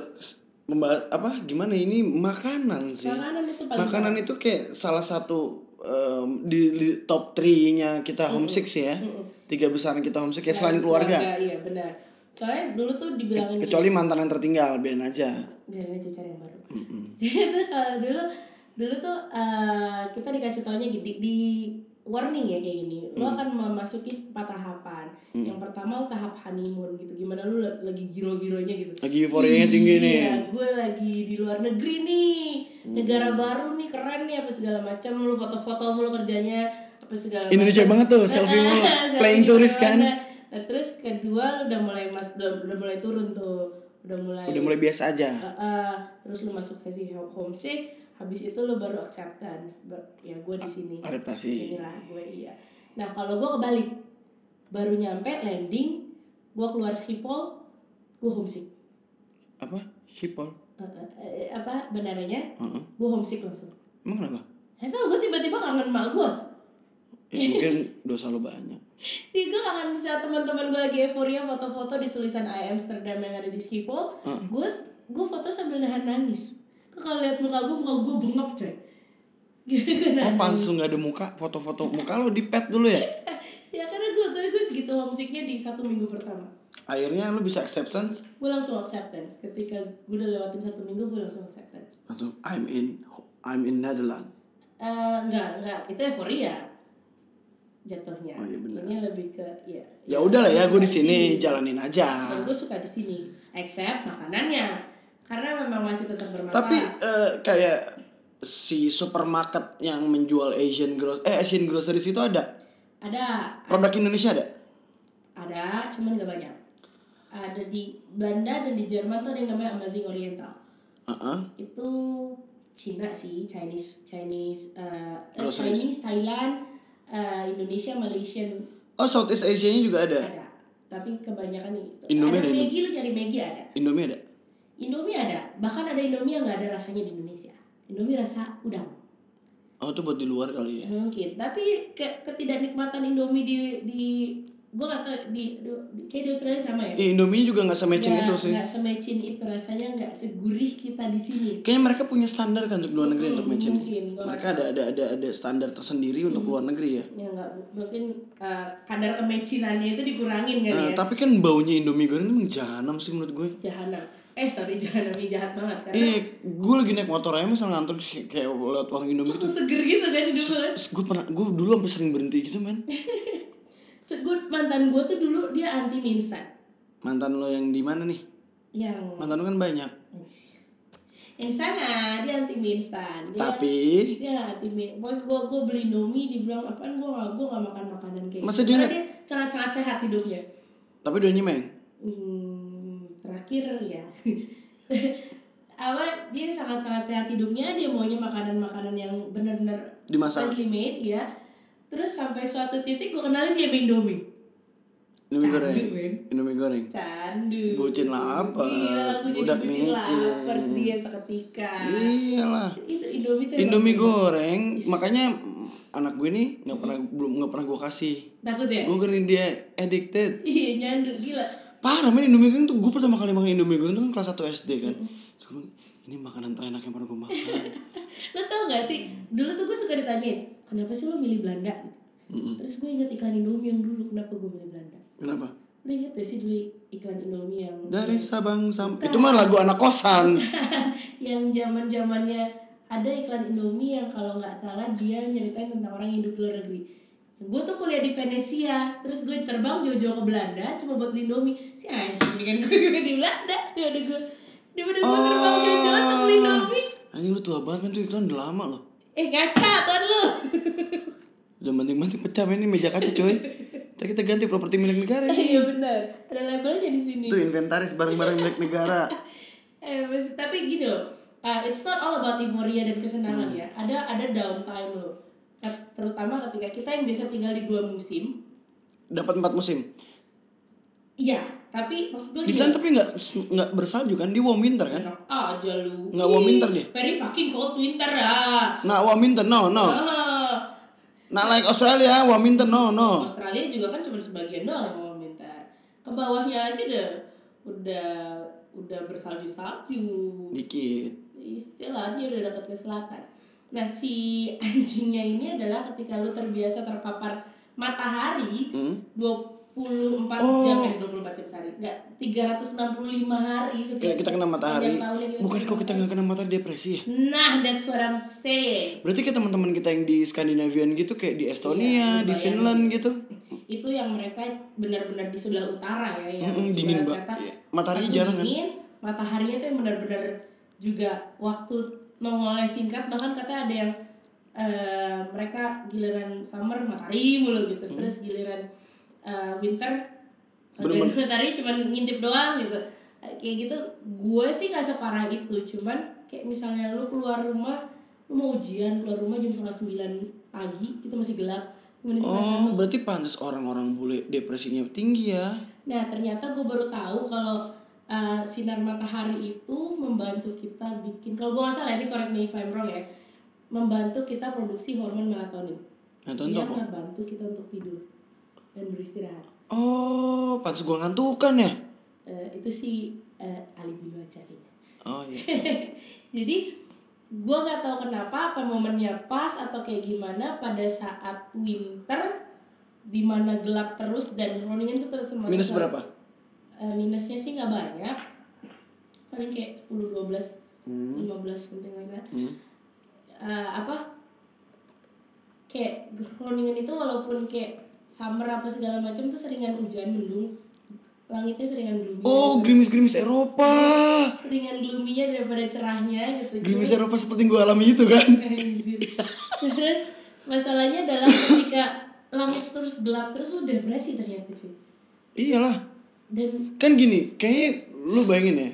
Speaker 1: memba- apa gimana ini makanan sih.
Speaker 2: Makanan itu paling
Speaker 1: Makanan itu kayak salah satu eh, di, di top 3-nya kita
Speaker 2: Mm-hmm.
Speaker 1: home six ya.
Speaker 2: Mm-mm.
Speaker 1: Tiga besaran kita home six ya selain keluarga.
Speaker 2: Iya benar Soalnya dulu tuh dibilangin gitu.
Speaker 1: Kecuali mantan yang tertinggal, biarin aja.
Speaker 2: Biar aja cari yang baru
Speaker 1: Mm-mm.
Speaker 2: Itu kalau dulu Dulu tuh eh, kita dikasih taunya gitu di, di warning ya kayak gini Lu
Speaker 1: Hmm.
Speaker 2: akan memasuki empat tahapan
Speaker 1: Hmm.
Speaker 2: Yang pertama tahap honeymoon gitu Gimana lu la- lagi giro-gironya gitu
Speaker 1: Lagi euforianya tinggi nih.
Speaker 2: Iya, gue lagi di luar negeri nih. Negara
Speaker 1: Hmm.
Speaker 2: baru nih keren nih apa segala macam lu foto-foto mulu kerjanya apa segala
Speaker 1: Indonesia
Speaker 2: macam.
Speaker 1: banget tuh, selfie mulu.
Speaker 2: Selfie
Speaker 1: Playing
Speaker 2: di
Speaker 1: tourist kan.
Speaker 2: mana-mana. Nah, terus kedua lu udah mulai mas udah, udah mulai turun tuh. Udah mulai
Speaker 1: Udah mulai biasa aja.
Speaker 2: Eh, eh, terus lu masuk sesi ho- homesick, habis itu lu baru acceptance. Ber- ya gue
Speaker 1: Ah,
Speaker 2: di sini.
Speaker 1: Adaptasi.
Speaker 2: Inilah gue iya. Nah, kalau gue kebalik baru nyampe landing, gue keluar Schiphol, gue homesick.
Speaker 1: Apa? Hipol.
Speaker 2: Eh, eh, eh, apa benarnya
Speaker 1: Heeh.
Speaker 2: gue homesick langsung
Speaker 1: Emang kenapa?
Speaker 2: Gak tau gue Eh, tiba-tiba kangen mak gue
Speaker 1: Ya, mungkin dosa lo banyak.
Speaker 2: Ih gue kangen bisa teman-teman gue lagi euforia foto-foto di tulisan I Amsterdam yang ada di Schiphol
Speaker 1: Heeh.
Speaker 2: Gue gue foto sambil nahan nangis Lu Kalau lihat muka gue, muka gue bengap coy Gue
Speaker 1: Oh,
Speaker 2: nahan nangis.
Speaker 1: langsung gak ada muka, foto-foto muka lo di pet dulu ya?
Speaker 2: Ya karena gue, gue, gue segitu homesicknya di satu minggu pertama
Speaker 1: Akhirnya lo bisa acceptance,
Speaker 2: Gue langsung acceptance Ketika gue udah lewatin satu minggu, gue langsung acceptance
Speaker 1: langsung I'm in I'm in Netherlands.
Speaker 2: Eh Enggak, enggak, itu euforia jatuhnya
Speaker 1: Oh, iya benar.
Speaker 2: Ini lebih ke, ya
Speaker 1: Ya udahlah ya, gue di sini
Speaker 2: Iya.
Speaker 1: jalanin aja.
Speaker 2: dan gue suka di sini except makanannya karena memang masih tetap bermasalah
Speaker 1: Tapi eh, kayak si supermarket yang menjual Asian gro eh Asian groceries itu ada
Speaker 2: ada
Speaker 1: produk Indonesia ada
Speaker 2: ada cuman gak banyak ada di Belanda dan di Jerman tuh ada yang namanya Amazing Oriental
Speaker 1: Heeh.
Speaker 2: itu Cina sih Chinese Chinese eh, eh,
Speaker 1: Groceries.
Speaker 2: Chinese Thailand eh, Indonesia Malaysian
Speaker 1: oh Southeast Asia nya juga ada
Speaker 2: ada tapi kebanyakan itu
Speaker 1: Ya. Indomie
Speaker 2: ada
Speaker 1: ada
Speaker 2: Maggi lu nyari Maggi ada
Speaker 1: Indomie ada
Speaker 2: Indomie ada bahkan ada Indomie yang nggak ada rasanya di Indonesia Indomie rasa udang
Speaker 1: oh itu buat di luar kali ya
Speaker 2: mungkin tapi ke- ketidaknikmatan Indomie di di gue gak tau di, di, di- kayak di Australia sama ya
Speaker 1: Eh, Indomie juga nggak semacam
Speaker 2: Nggak-
Speaker 1: itu sih
Speaker 2: nggak semecin itu rasanya nggak segurih kita di sini
Speaker 1: kayaknya mereka punya standar kan untuk luar negeri
Speaker 2: Hmm,
Speaker 1: untuk matching ini.
Speaker 2: mungkin gua
Speaker 1: mereka ada ada ada ada standar tersendiri untuk luar negeri ya
Speaker 2: ya nggak mungkin eh, kadar kemecinannya itu dikurangin kan
Speaker 1: Nah,
Speaker 2: ya
Speaker 1: tapi kan baunya Indomie goreng emang jahanam sih menurut gue
Speaker 2: jahanam eh sorry jahanam ini jahat banget kan? karena
Speaker 1: Eh, gue lagi naik motor aja misal ngantuk kayak kayak liat warung Indomie gitu.
Speaker 2: langsung seger gitu kan hidup gue
Speaker 1: Terus gue pernah, gue dulu sampai sering berhenti gitu men.
Speaker 2: Se- gua- mantan gue tuh dulu dia anti mie instan
Speaker 1: Mantan lo yang di mana nih?
Speaker 2: yang
Speaker 1: Mantan lo kan banyak.
Speaker 2: Iya. yang sana dia anti mie instan Dia-
Speaker 1: Tapi
Speaker 2: Ya, tipe gue gue gue beli Indomie dibilang apaan gue gak gue gak makan makanan kayak
Speaker 1: Masa dia
Speaker 2: gitu. Karena dia sangat sangat sehat hidupnya.
Speaker 1: tapi udah nyemeng.
Speaker 2: Hmm, terakhir ya. Apa dia sangat sangat sehat hidupnya dia maunya makanan makanan yang benar-benar
Speaker 1: Dimasak
Speaker 2: freshly made ya. Terus sampai suatu titik gue kenalin dia sama Indomie.
Speaker 1: Indomie
Speaker 2: Candu,
Speaker 1: goreng.
Speaker 2: men.
Speaker 1: Indomie goreng.
Speaker 2: Candu.
Speaker 1: Bucin lapar,
Speaker 2: Iya, langsung jadi
Speaker 1: budak
Speaker 2: bucin
Speaker 1: micin.
Speaker 2: lapar dia seketika.
Speaker 1: Iyalah.
Speaker 2: Itu Indomie tuh. emang
Speaker 1: Indomie
Speaker 2: bener.
Speaker 1: goreng,
Speaker 2: Iya. Is.
Speaker 1: makanya mm, anak gue nih nggak pernah belum nggak pernah gue kasih.
Speaker 2: Takut ya?
Speaker 1: Gue keren dia addicted.
Speaker 2: Iya, nyandu gila.
Speaker 1: Parah men Indomie goreng tuh gue pertama kali makan Indomie goreng tuh kan kelas 1 SD kan. Terus gue bilang, ini makanan terenak yang pernah gue makan.
Speaker 2: lo tau gak sih dulu tuh gue suka ditanyain kenapa sih lo milih Belanda
Speaker 1: Mm-mm.
Speaker 2: terus gue inget iklan Indomie yang dulu kenapa gue milih Belanda
Speaker 1: Kenapa?
Speaker 2: lo inget gak sih dulu iklan Indomie yang
Speaker 1: Dari Sabang sampai itu mah lagu anak kosan.
Speaker 2: yang zaman zamannya ada iklan Indomie yang kalau nggak salah dia nyeritain tentang orang hidup luar negeri gue tuh kuliah di Venesia terus gue terbang jauh-jauh ke Belanda cuma buat beli Indomie si anjing dengan gue gue di Belanda dia ada gue daripada gue terbang jauh-jauh untuk beli Indomie
Speaker 1: Anjing lu tua banget kan tuh iklan udah lama loh.
Speaker 2: eh kaca tuan lu
Speaker 1: Udah penting-penting pecah ini meja kaca coy. Ntar kita ganti properti milik negara ini.
Speaker 2: iya benar ada labelnya di sini
Speaker 1: Itu inventaris barang-barang milik negara.
Speaker 2: eh mas- tapi gini loh ah, it's not all about euforia dan kesenangan ya ada ada downtime loh Ter- terutama ketika kita yang biasa tinggal di dua musim
Speaker 1: Dapat empat musim.
Speaker 2: iya tapi maksud gue
Speaker 1: Di sana tapi nggak nggak bersalju kan? Di warm winter kan?
Speaker 2: Enak aja Ah, lu
Speaker 1: Nggak warm winter dia.
Speaker 2: very fucking cold winter ah
Speaker 1: Nah warm winter no no.
Speaker 2: Ah.
Speaker 1: Nah like Australia warm winter no no.
Speaker 2: Australia juga kan cuma sebagian doang yang mau minta ke bawahnya aja udah udah udah bersalju-salju
Speaker 1: Dikit.
Speaker 2: istilahnya udah dekat ke selatan. Nah si anjingnya ini adalah ketika lu terbiasa terpapar matahari
Speaker 1: Hmm?
Speaker 2: 24
Speaker 1: Oh.
Speaker 2: jam eh 24 jam sehari. Enggak, 365 hari setiap
Speaker 1: Kayak kita kena matahari.
Speaker 2: sepanjang tahunnya kita
Speaker 1: Bukan kok
Speaker 2: kena
Speaker 1: kita
Speaker 2: matahari.
Speaker 1: nggak kena matahari depresi ya?
Speaker 2: Nah, that's what I'm saying.
Speaker 1: Berarti kayak teman-teman kita yang di Skandinavian gitu kayak di Estonia,
Speaker 2: Iya,
Speaker 1: di
Speaker 2: lumayan.
Speaker 1: Finland gitu.
Speaker 2: Itu yang mereka benar-benar di sebelah utara ya yang
Speaker 1: Mm-mm, dingin banget.
Speaker 2: ibarat kata
Speaker 1: Iya. Matahari
Speaker 2: Waktu
Speaker 1: jarang kan?
Speaker 2: dingin, mataharinya tuh yang benar-benar juga waktu nongolnya singkat bahkan katanya ada yang eh, mereka giliran summer matahari mulu gitu
Speaker 1: Hmm.
Speaker 2: terus giliran eh, winter
Speaker 1: Bener-bener.
Speaker 2: kagak ada matahari cuman ngintip doang gitu kayak gitu gue sih nggak separah itu cuman kayak misalnya lu keluar rumah lu mau ujian keluar rumah jam setengah sembilan pagi itu masih gelap Kemudian semester
Speaker 1: Oh, berarti pantas orang-orang bule depresinya tinggi ya.
Speaker 2: Nah ternyata gue baru tahu kalau uh, sinar matahari itu membantu kita bikin kalau gue nggak salah ini correct me if I'm wrong ya membantu kita produksi hormon melatonin
Speaker 1: Nah,
Speaker 2: dia
Speaker 1: tonton kok.
Speaker 2: membantu kita untuk tidur dan beristirahat
Speaker 1: Oh, pantas gua ngantukan ya.
Speaker 2: Eh, itu sih eh, alibi lu aja kayaknya.
Speaker 1: Oh iya.
Speaker 2: jadi gue nggak tahu kenapa apa momennya pas atau kayak gimana pada saat winter dimana gelap terus dan hormonnya itu terus masuk
Speaker 1: Minus
Speaker 2: ke-
Speaker 1: berapa?
Speaker 2: Eh, minusnya sih nggak banyak paling kayak 10 12
Speaker 1: Hmm.
Speaker 2: 15 something like that
Speaker 1: hmm.
Speaker 2: Eh, apa kayak Groningen itu walaupun kayak summer apa segala macam tuh seringan hujan mendung langitnya seringan gloomy
Speaker 1: Oh, gerimis-gerimis Eropa.
Speaker 2: seringan gloomy-nya daripada cerahnya gitu
Speaker 1: Gerimis Eropa seperti yang gua alami itu kan.
Speaker 2: Anjir. terus masalahnya adalah ketika langit terus gelap terus lu depresi ternyata cuy
Speaker 1: Iyalah.
Speaker 2: dan
Speaker 1: Kan gini, kayaknya lu bayangin ya.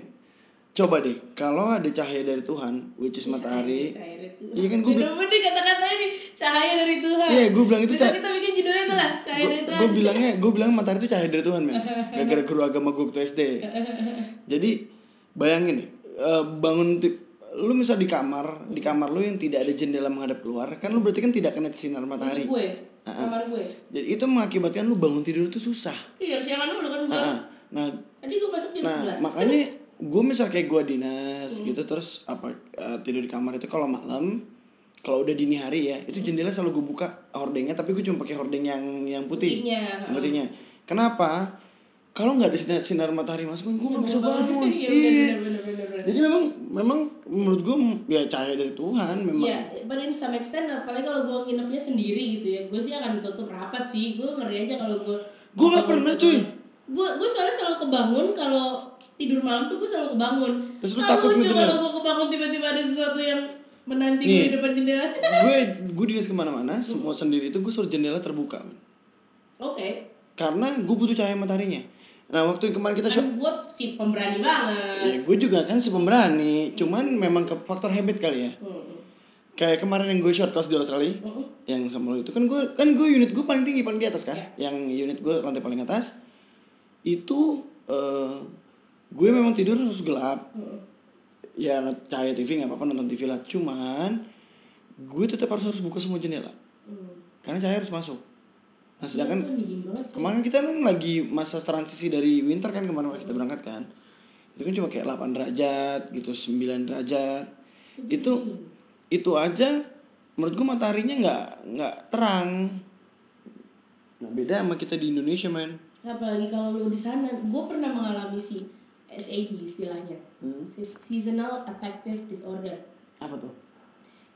Speaker 1: Coba deh, kalau ada cahaya dari Tuhan, which is matahari. Iya
Speaker 2: Iya
Speaker 1: kan,
Speaker 2: kan
Speaker 1: gua
Speaker 2: gue Demen nih kata-katanya nih Cahaya dari Tuhan
Speaker 1: Iya, gua bilang itu
Speaker 2: Bisa
Speaker 1: cah-
Speaker 2: kita bikin judulnya itu lah Cahaya dari Tuhan
Speaker 1: gue bilangnya gue bilang matahari itu cahaya dari Tuhan men gara-gara guru agama gue waktu SD jadi bayangin nih eh, bangun ti- lu misal di kamar di kamar lu yang tidak ada jendela menghadap keluar kan lu berarti kan tidak kena sinar matahari
Speaker 2: Gue Kamar gue
Speaker 1: jadi itu mengakibatkan lu bangun tidur tuh susah
Speaker 2: Iya siangan dulu kan gue
Speaker 1: Ah, ah. nah
Speaker 2: Tadi gue masuk jam
Speaker 1: nah
Speaker 2: 11
Speaker 1: makanya gue misal kayak gue dinas gitu terus apa eh, tidur di kamar itu kalau malam kalau udah dini hari ya itu jendela selalu gue buka hordengnya tapi gue cuma pakai hordeng yang yang putih
Speaker 2: Putihnya
Speaker 1: yang pentingnya kenapa kalau nggak ada sinar, sinar matahari masuk gue nggak bisa bangun
Speaker 2: Iya
Speaker 1: Iya.
Speaker 2: bener-bener
Speaker 1: jadi memang memang menurut gue ya cahaya dari Tuhan memang
Speaker 2: Iya, pada some extent apalagi kalau gue nginepnya sendiri gitu ya Gue sih akan tutup rapat sih Gue ngeri aja kalau gue
Speaker 1: gue nggak pernah cuy
Speaker 2: Gue gue soalnya selalu kebangun kalau tidur malam tuh gue selalu kebangun
Speaker 1: Terus lu
Speaker 2: Nah,
Speaker 1: takut
Speaker 2: lucu
Speaker 1: gitu
Speaker 2: kalau
Speaker 1: kan? Iya.
Speaker 2: gue kebangun tiba-tiba ada sesuatu yang menanti
Speaker 1: Nih.
Speaker 2: gue di depan jendela oke
Speaker 1: gue gue dinas kemana-mana semua sendiri itu gue selalu jendela terbuka karena gue butuh cahaya mataharinya nah waktu kemarin kita
Speaker 2: kan gue si pemberani banget
Speaker 1: ya gue juga kan si pemberani cuman memang ke faktor habit kali ya
Speaker 2: Mm-mm.
Speaker 1: kayak kemarin yang gue short class di Australia
Speaker 2: Mm-mm.
Speaker 1: yang sama lo itu kan gue kan gue unit gue paling tinggi paling di atas kan yang unit gue lantai paling atas itu eh, gue memang tidur harus gelap
Speaker 2: Mm-mm.
Speaker 1: ya cahaya TV nggak apa-apa nonton TV lah cuman gue tetap harus harus buka semua jendela
Speaker 2: Mm.
Speaker 1: karena cahaya harus masuk nah sedangkan
Speaker 2: Itu dingin banget tuh.
Speaker 1: kemarin kita kan lagi masa transisi dari winter kan kemarin kita berangkat kan itu kan cuma kayak 8 derajat gitu 9 derajat itu
Speaker 2: dingin.
Speaker 1: itu aja menurut gue mataharinya nggak nggak terang nah beda sama kita di Indonesia men
Speaker 2: apalagi kalau lu di sana gue pernah mengalami si SAD istilahnya Si- seasonal affective disorder
Speaker 1: Hmm. apa tuh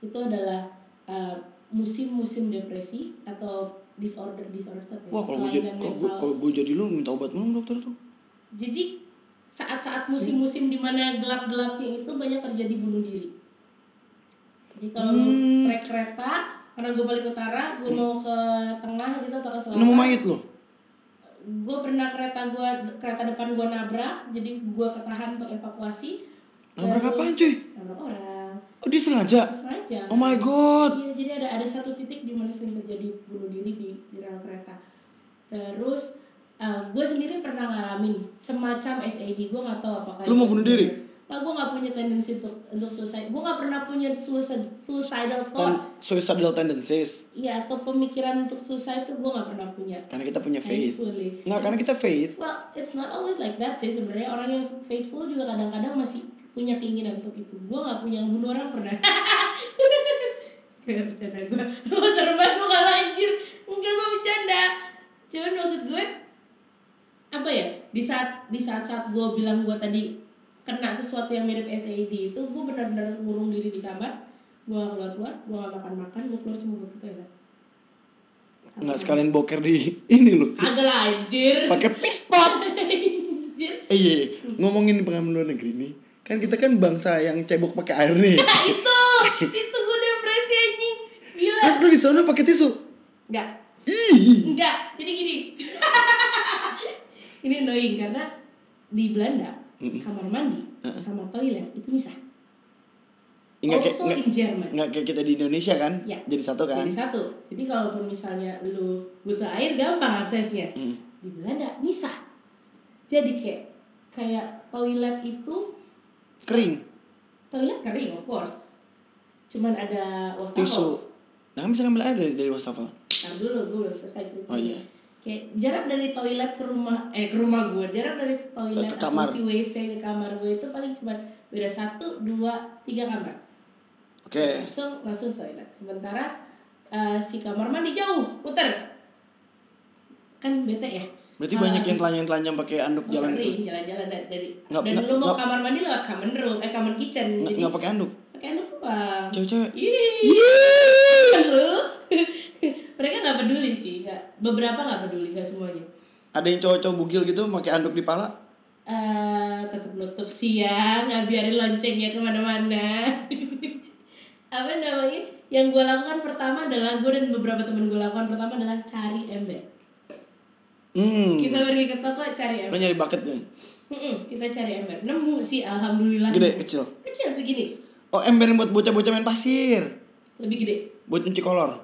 Speaker 2: itu adalah eh, musim-musim depresi atau disorder disorder ya? tapi
Speaker 1: Wah kalau gue jadi kalau gue, kalau gue jadi lu minta obat minum dokter tuh.
Speaker 2: jadi saat-saat musim-musim dimana gelap-gelapnya itu banyak terjadi bunuh diri jadi kalau mau
Speaker 1: Hmm.
Speaker 2: trek kereta karena gue paling utara gue
Speaker 1: Hmm.
Speaker 2: mau ke tengah gitu atau ke
Speaker 1: Nemu
Speaker 2: selatan
Speaker 1: mayat lo.
Speaker 2: gue pernah kereta gue kereta depan gue nabrak jadi gue ketahan untuk evakuasi
Speaker 1: Nabrak
Speaker 2: Terus-
Speaker 1: apaan cuy?
Speaker 2: nabrak orang
Speaker 1: Oh dia sengaja.
Speaker 2: terus aja
Speaker 1: Oh my god.
Speaker 2: Iya, jadi ada ada satu titik di mana sering terjadi bunuh diri di, di rel kereta. Terus gue sendiri pernah ngalamin semacam SAD gue nggak tahu apakah.
Speaker 1: Lu mau
Speaker 2: itu-
Speaker 1: bunuh diri?
Speaker 2: Nah, gue nggak punya tendensi untuk untuk suicide. Gue nggak pernah punya suicide suicidal thought.
Speaker 1: Tan suicidal tendencies
Speaker 2: Iya, atau pemikiran untuk suicide itu gue nggak pernah punya.
Speaker 1: karena kita punya faith.
Speaker 2: Thankfully.
Speaker 1: Iya, Nggak karena kita faith.
Speaker 2: Well, it's not always like that sih sebenarnya orang yang faithful juga kadang-kadang masih punya keinginan untuk itu. Gue nggak punya yang bunuh orang pernah. Gak bercanda gue. Gue serem banget gue kalah anjir. Enggak gue bercanda. Cuman maksud gue apa ya di saat di saat saat gue bilang gue tadi kena sesuatu yang mirip SAID itu gue benar-benar ngurung diri di kamar gue gak keluar keluar gue gak makan makan gue keluar cuma buat ya, ke toilet
Speaker 1: Nggak sekalian boker di ini lo.
Speaker 2: kagak lah anjir
Speaker 1: Pakai pispot.
Speaker 2: anjir
Speaker 1: Eh iya, iya. ngomongin pengalaman luar negeri nih. Kan kita kan bangsa yang cebok pakai air nih.
Speaker 2: itu itu gue depresi anjing gila
Speaker 1: Terus lu di sana pakai tisu.
Speaker 2: enggak
Speaker 1: Ih.
Speaker 2: enggak jadi gini ini annoying karena di Belanda
Speaker 1: Mm-mm.
Speaker 2: kamar mandi sama toilet itu misah
Speaker 1: Ingat kayak
Speaker 2: also
Speaker 1: nggak-
Speaker 2: in Jerman
Speaker 1: nggak kayak kita di Indonesia kan?
Speaker 2: Ya.
Speaker 1: Jadi satu kan?
Speaker 2: jadi satu jadi kalaupun misalnya lu butuh air gampang aksesnya
Speaker 1: Hmm.
Speaker 2: di Belanda misah jadi kayak kayak toilet itu
Speaker 1: Kering.
Speaker 2: toilet kering of course cuman ada wastafel
Speaker 1: Tisu. Nah, kan bisa ngambil air dari dari wastafel.
Speaker 2: Ntar dulu gue belum selesai
Speaker 1: Oh iya.
Speaker 2: kayak jarak dari toilet ke rumah eh ke rumah gue jarak dari toilet
Speaker 1: Ke kamar.
Speaker 2: atau si wc ke kamar gue itu paling cuma beda satu dua tiga kamar
Speaker 1: Oke.
Speaker 2: langsung langsung toilet sementara eh, si kamar mandi jauh puter kan bete ya
Speaker 1: Berarti
Speaker 2: Ah,
Speaker 1: banyak yang
Speaker 2: habis-
Speaker 1: telanjang-telanjang pakai anduk
Speaker 2: Mau
Speaker 1: jalan itu.
Speaker 2: sering jalan-jalan dari, dari
Speaker 1: Nggak-
Speaker 2: dan
Speaker 1: nggak-
Speaker 2: lu mau
Speaker 1: nggak-
Speaker 2: kamar mandi lewat common room eh common kitchen
Speaker 1: Nggak
Speaker 2: jadi
Speaker 1: nggak pakai anduk.
Speaker 2: pakai anak doang
Speaker 1: Cewek-cewek.
Speaker 2: Ih, lu mereka nggak peduli sih nggak beberapa nggak peduli nggak semuanya
Speaker 1: Ada yang cowok-cowok bugil gitu pakai anduk di pala.
Speaker 2: eh tetap nutup siang nggak biarin loncengnya kemana-mana apa namanya yang gue lakukan pertama adalah gue dan beberapa teman gue lakukan pertama adalah cari ember
Speaker 1: Hmm.
Speaker 2: kita pergi ke toko cari
Speaker 1: Lo
Speaker 2: ember
Speaker 1: nyari bucket nih.
Speaker 2: Mm-mm, kita cari ember nemu sih alhamdulillah
Speaker 1: Gede, kecil.
Speaker 2: kecil segini
Speaker 1: Oh, ember yang buat bocah-bocah main pasir.
Speaker 2: lebih gede
Speaker 1: Buat nyuci kolor.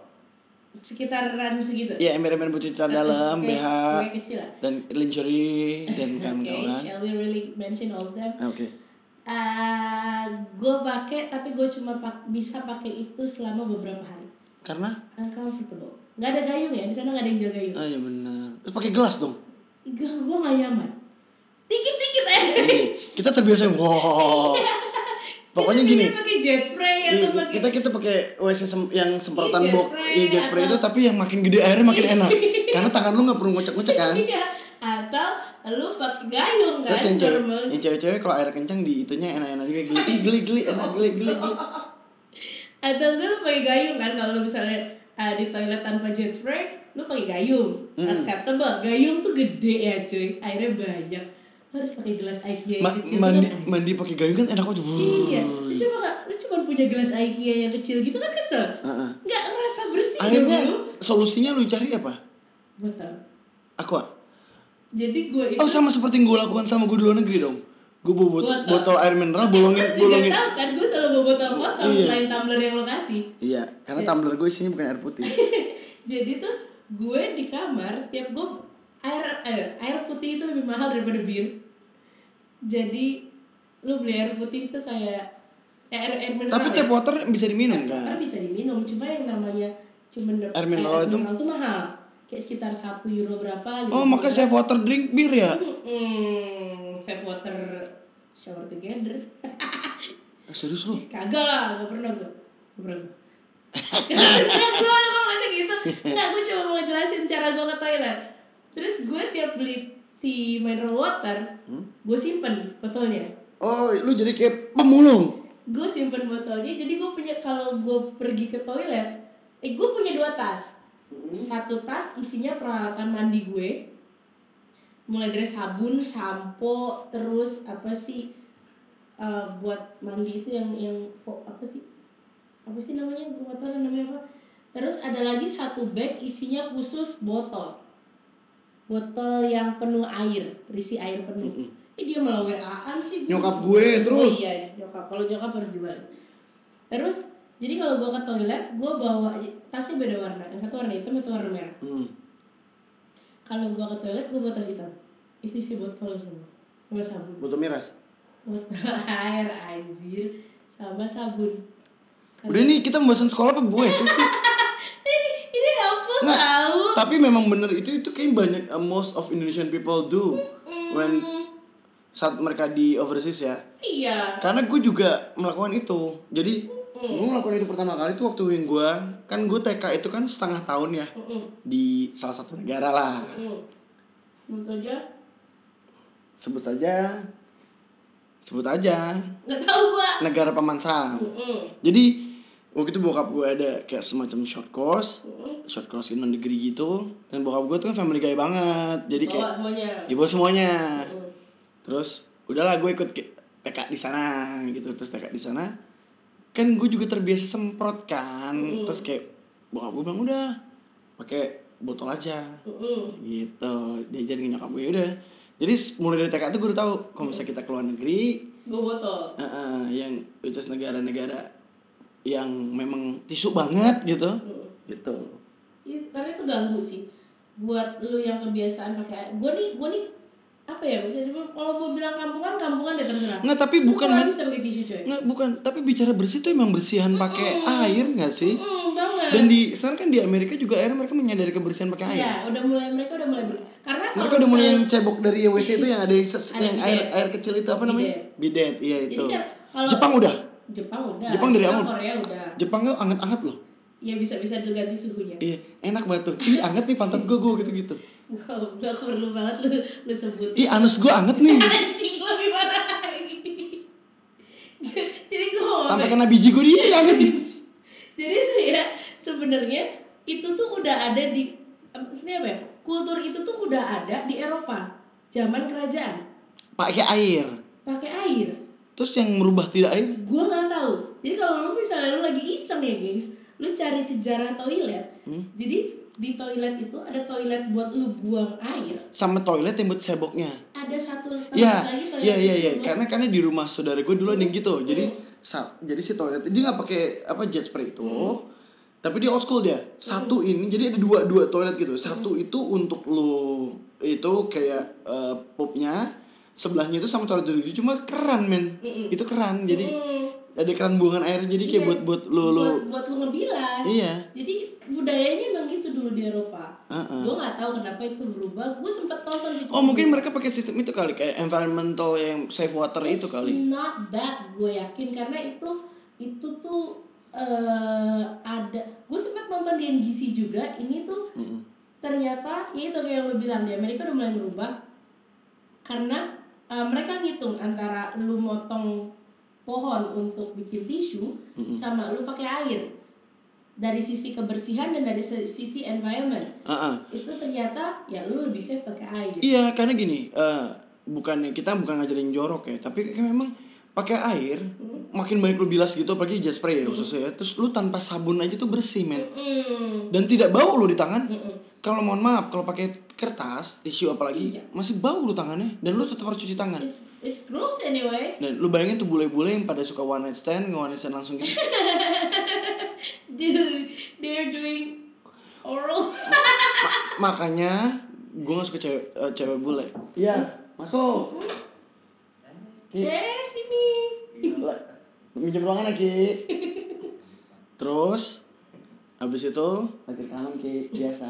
Speaker 2: sekitaran segitu
Speaker 1: Iya, ember-ember buat cuci celana dalam, BH,
Speaker 2: Kayak- kayak kecil lah
Speaker 1: dan lingerie dan
Speaker 2: okay,
Speaker 1: kawan-kawan.
Speaker 2: shall we really mention all of them
Speaker 1: Ah, Oke.
Speaker 2: gue pakai tapi gue cuma pak- bisa pakai itu selama beberapa hari
Speaker 1: Karena
Speaker 2: uncomfortable nggak ada gayung ya di sana nggak ada yang jual gayung
Speaker 1: Oh iya benar. Terus pakai gelas dong.
Speaker 2: gak gue nggak nyaman dikit dikit aja
Speaker 1: Iya. kita terbiasa yang, wow. Pokoknya
Speaker 2: Kita
Speaker 1: gini.
Speaker 2: biasanya pakai jet spray atau
Speaker 1: iya,
Speaker 2: pakai
Speaker 1: Kita kita pakai WC sem- yang semprotan
Speaker 2: Iya, jet
Speaker 1: bok,
Speaker 2: spray
Speaker 1: iya jet spray
Speaker 2: atau-
Speaker 1: itu tapi yang makin gede airnya makin enak. Karena tangan lu nggak perlu ngocek-ngocek kan.
Speaker 2: Iya. atau lu pakai gayung kan
Speaker 1: Terus yang cewek,
Speaker 2: normal.
Speaker 1: yang cewek-cewek kalau air kencang di itunya enak-enak juga geli, Ih, geli, geli, enak geli, geli,
Speaker 2: Oh,
Speaker 1: geli.
Speaker 2: atau enggak lu pakai gayung kan kalau lu misalnya ah, di toilet tanpa jet spray lu pakai gayung
Speaker 1: Mm.
Speaker 2: acceptable gayung tuh gede ya cuy airnya banyak Lu harus pakai gelas IKEA yang
Speaker 1: Ma-
Speaker 2: kecil
Speaker 1: mandi
Speaker 2: kan?
Speaker 1: mandi pakai gayung kan enak banget.
Speaker 2: iya lu coba nggak- lu cuma punya gelas IKEA yang kecil gitu kan kesel
Speaker 1: Heeh.
Speaker 2: nggak ngerasa bersih
Speaker 1: Akhirnya
Speaker 2: dong lu.
Speaker 1: solusinya lu cari apa?
Speaker 2: Betul.
Speaker 1: Aqua.
Speaker 2: Jadi gue itu
Speaker 1: Oh sama seperti yang gue lakukan sama gue di luar negeri dong. Gue bawa bot-
Speaker 2: Botol.
Speaker 1: botol air mineral bolongin
Speaker 2: Lo juga
Speaker 1: bolongin.
Speaker 2: tahu kan gue selalu bawa botol kosong
Speaker 1: Iya.
Speaker 2: selain tumbler yang lo kasih.
Speaker 1: Iya, karena tumbler gue isinya bukan air putih.
Speaker 2: Jadi tuh gue di kamar tiap gue air air, air putih itu lebih mahal daripada bir. Jadi lu beli air putih itu kayak eh, air air mineral.
Speaker 1: Tapi tap water bisa diminum
Speaker 2: kan
Speaker 1: kan?
Speaker 2: bisa diminum cuma yang namanya cuma dap-
Speaker 1: Air mineral itu-
Speaker 2: mineral tuh mahal kayak sekitar 1 euro berapa gitu.
Speaker 1: Oh, maka saya water drink bir ya?
Speaker 2: Hmm, save water shower together.
Speaker 1: Ah, Serius lu?
Speaker 2: Kagak lah, gak pernah gue Gak pernah gue Enggak, gue emang aja gitu Enggak, gue cuma mau jelasin cara gue ke toilet Terus gue tiap beli si mineral water
Speaker 1: Hmm?
Speaker 2: Gue simpen botolnya
Speaker 1: Oh, lu jadi kayak pemulung.
Speaker 2: gue simpen botolnya jadi gue punya kalau gue pergi ke toilet eh gue punya dua tas satu tas isinya peralatan mandi gue mulai dari sabun sampo terus apa sih eh, buat mandi itu yang yang fo- apa sih apa sih namanya gue nggak tahu namanya apa terus ada lagi satu bag isinya khusus botol botol yang penuh air berisi air penuh
Speaker 1: Mm-mm.
Speaker 2: Ih, dia malah waan sih
Speaker 1: Nyokap gue, terus.
Speaker 2: Oh iya nyokap kalau nyokap harus dibalas terus jadi kalau gue ke toilet gue bawa tasnya beda warna yang satu warna hitam satu warna merah
Speaker 1: Hmm.
Speaker 2: kalau gue ke toilet gue bawa tas hitam itu sih botol semua sama sabun
Speaker 1: Botol miras.
Speaker 2: botol air anjir sama sabun
Speaker 1: Udah nih kita pembahasan sekolah apa gue sih sih?
Speaker 2: ini apa
Speaker 1: Nggak.
Speaker 2: tahu
Speaker 1: Tapi memang bener itu itu kayak banyak uh, most of Indonesian people do when
Speaker 2: Hmm,
Speaker 1: saat mereka di overseas ya.
Speaker 2: iya
Speaker 1: Karena gue juga melakukan itu. Jadi gue melakukan itu pertama kali itu waktu yang gue kan gue TK itu kan setengah tahun ya
Speaker 2: Mm-mm.
Speaker 1: di salah satu negara lah.
Speaker 2: Mm. Menurut aja
Speaker 1: Sebut saja sebut aja
Speaker 2: nggak tahu gua.
Speaker 1: negara paman Sam.
Speaker 2: Mm-mm.
Speaker 1: Jadi waktu itu bokap gue ada kayak semacam short course
Speaker 2: Mm-mm.
Speaker 1: short course in negeri gitu dan bokap gue tuh kan family guy banget jadi kayak Iya.
Speaker 2: Bawa semuanya.
Speaker 1: ibu semuanya
Speaker 2: Mm.
Speaker 1: terus udahlah gue ikut ke- TK di sana gitu terus TK di sana kan gue juga terbiasa semprot kan
Speaker 2: Mm.
Speaker 1: terus kayak bokap gue bilang udah pakai botol aja
Speaker 2: Mm-mm.
Speaker 1: gitu diajarin nyokap gue "Ya udah jadi s- mulai dari TK tuh gue udah tahu kalau misalnya kita keluar negeri
Speaker 2: Gua botol.
Speaker 1: eh, eh, yang itu negara-negara yang memang tisu banget gitu
Speaker 2: Mm.
Speaker 1: gitu
Speaker 2: Iya, karena itu ganggu sih. Buat lu yang kebiasaan pakai air. Gua nih, gua nih apa ya bisa dibilang kalau mau bilang kampungan kampungan deh terserah.
Speaker 1: nggak tapi bukan
Speaker 2: Gua
Speaker 1: men-
Speaker 2: nggak bisa beli tisu coy.
Speaker 1: Nggak, bukan. Tapi bicara bersih tuh emang bersihan pakai air nggak sih?
Speaker 2: Mm, banget.
Speaker 1: Dan di sana kan di Amerika juga akhirnya mereka menyadari kebersihan pakai air.
Speaker 2: Iya, udah mulai mereka udah mulai ber- karena
Speaker 1: Mereka
Speaker 2: kalau
Speaker 1: udah mulai
Speaker 2: misalnya-
Speaker 1: yang cebok dari WC itu yang ada yang, ses-
Speaker 2: Ada
Speaker 1: yang
Speaker 2: bidet.
Speaker 1: air air kecil itu apa namanya? Bidet, iya
Speaker 2: jadi
Speaker 1: itu.
Speaker 2: kan kalau
Speaker 1: Jepang udah.
Speaker 2: Jepang udah.
Speaker 1: Jepang dari awal.
Speaker 2: Korea udah.
Speaker 1: Jepang tuh anget-anget loh.
Speaker 2: Ya bisa bisa diganti suhunya.
Speaker 1: Iya, enak banget tuh. Ih, anget nih pantat gue gue gitu-gitu.
Speaker 2: Gak perlu banget lu lu sebut.
Speaker 1: Ih, anus gue anget nih. gitu.
Speaker 2: anjing lebih parah lagi jadi gue mau
Speaker 1: Sampai
Speaker 2: ngapain?
Speaker 1: kena biji gue dia anget nih.
Speaker 2: jadi tuh ya sebenarnya itu tuh udah ada di ini apa ya kultur itu tuh udah ada di Eropa zaman kerajaan
Speaker 1: Pakai air.
Speaker 2: pakai air
Speaker 1: Terus yang merubah tidak air?
Speaker 2: gue nggak tahu jadi kalau lu misalnya lu lagi iseng ya guys lu cari sejarah toilet
Speaker 1: Hmm.
Speaker 2: jadi di toilet itu ada toilet buat lu buang air
Speaker 1: Sama toilet yang buat seboknya.
Speaker 2: ada satu tempat
Speaker 1: Iya,
Speaker 2: lagi toilet
Speaker 1: Iya iya
Speaker 2: kecil
Speaker 1: iya,
Speaker 2: buat-
Speaker 1: karena karena di rumah saudara gue dulu ada yang gitu. Jadi
Speaker 2: Hmm.
Speaker 1: sa- jadi si toilet dia nggak pakai apa jet spray itu.
Speaker 2: Hmm.
Speaker 1: Tapi dia old school dia. Satu ini jadi ada dua dua toilet gitu. Satu
Speaker 2: Hmm.
Speaker 1: itu untuk lo itu kayak eh, popnya sebelahnya itu sama toilet duduk cuma keran men.
Speaker 2: Mm-mm.
Speaker 1: Itu keran. Jadi
Speaker 2: Mm.
Speaker 1: ada keran buangan air jadi kayak
Speaker 2: Hmm. Iya.
Speaker 1: buat buat lo lo
Speaker 2: buat buat lu ngebilas
Speaker 1: iya.
Speaker 2: Jadi budayanya emang gitu dulu di Eropa.
Speaker 1: Heeh.
Speaker 2: Gue nggak tahu kenapa itu berubah. Gue sempet nonton sih.
Speaker 1: Oh mungkin mereka pakai sistem itu kali kayak environmental yang safe water itu
Speaker 2: It's
Speaker 1: kali.
Speaker 2: Not that gue yakin karena itu itu tuh eh ada. Gue sempet nonton di NGC juga. Ini tuh
Speaker 1: Mm-mm.
Speaker 2: ternyata ya itu kayak yang lo bilang di Amerika udah mulai berubah karena eh, mereka ngitung antara lu motong pohon untuk bikin tisu
Speaker 1: Mm-mm.
Speaker 2: sama lu pakai air dari sisi kebersihan dan dari se- sisi environment.
Speaker 1: Heeh.
Speaker 2: itu ternyata ya lu lebih safe pakai air
Speaker 1: Ah, Iya, karena gini, eh bukannya kita bukan ngajarin jorok ya, tapi kayak memang pakai air
Speaker 2: Hmm.
Speaker 1: makin banyak lu bilas gitu, apalagi jet spray ya
Speaker 2: Hmm.
Speaker 1: khususnya ya. Terus lu tanpa sabun aja tuh bersih, men.
Speaker 2: Mm-mm.
Speaker 1: Dan tidak bau lu di tangan.
Speaker 2: Mm-mm.
Speaker 1: Kalau mohon maaf, kalau pakai kertas, tisu apalagi
Speaker 2: Iya.
Speaker 1: masih bau lu tangannya dan lu tetap harus cuci tangan.
Speaker 2: It's, it's gross anyway
Speaker 1: Dan lu bayangin tuh bule-bule yang pada suka one night stand, nge one night stand langsung gitu.
Speaker 2: Dude, they're doing oral
Speaker 1: Makanya gue gak suka cewek eh, cewek bule. Iya, masuk. Ki,
Speaker 2: Eh, sini
Speaker 1: le- minjem ruangan lagi. Terus habis itu pakai kanan ki biasa.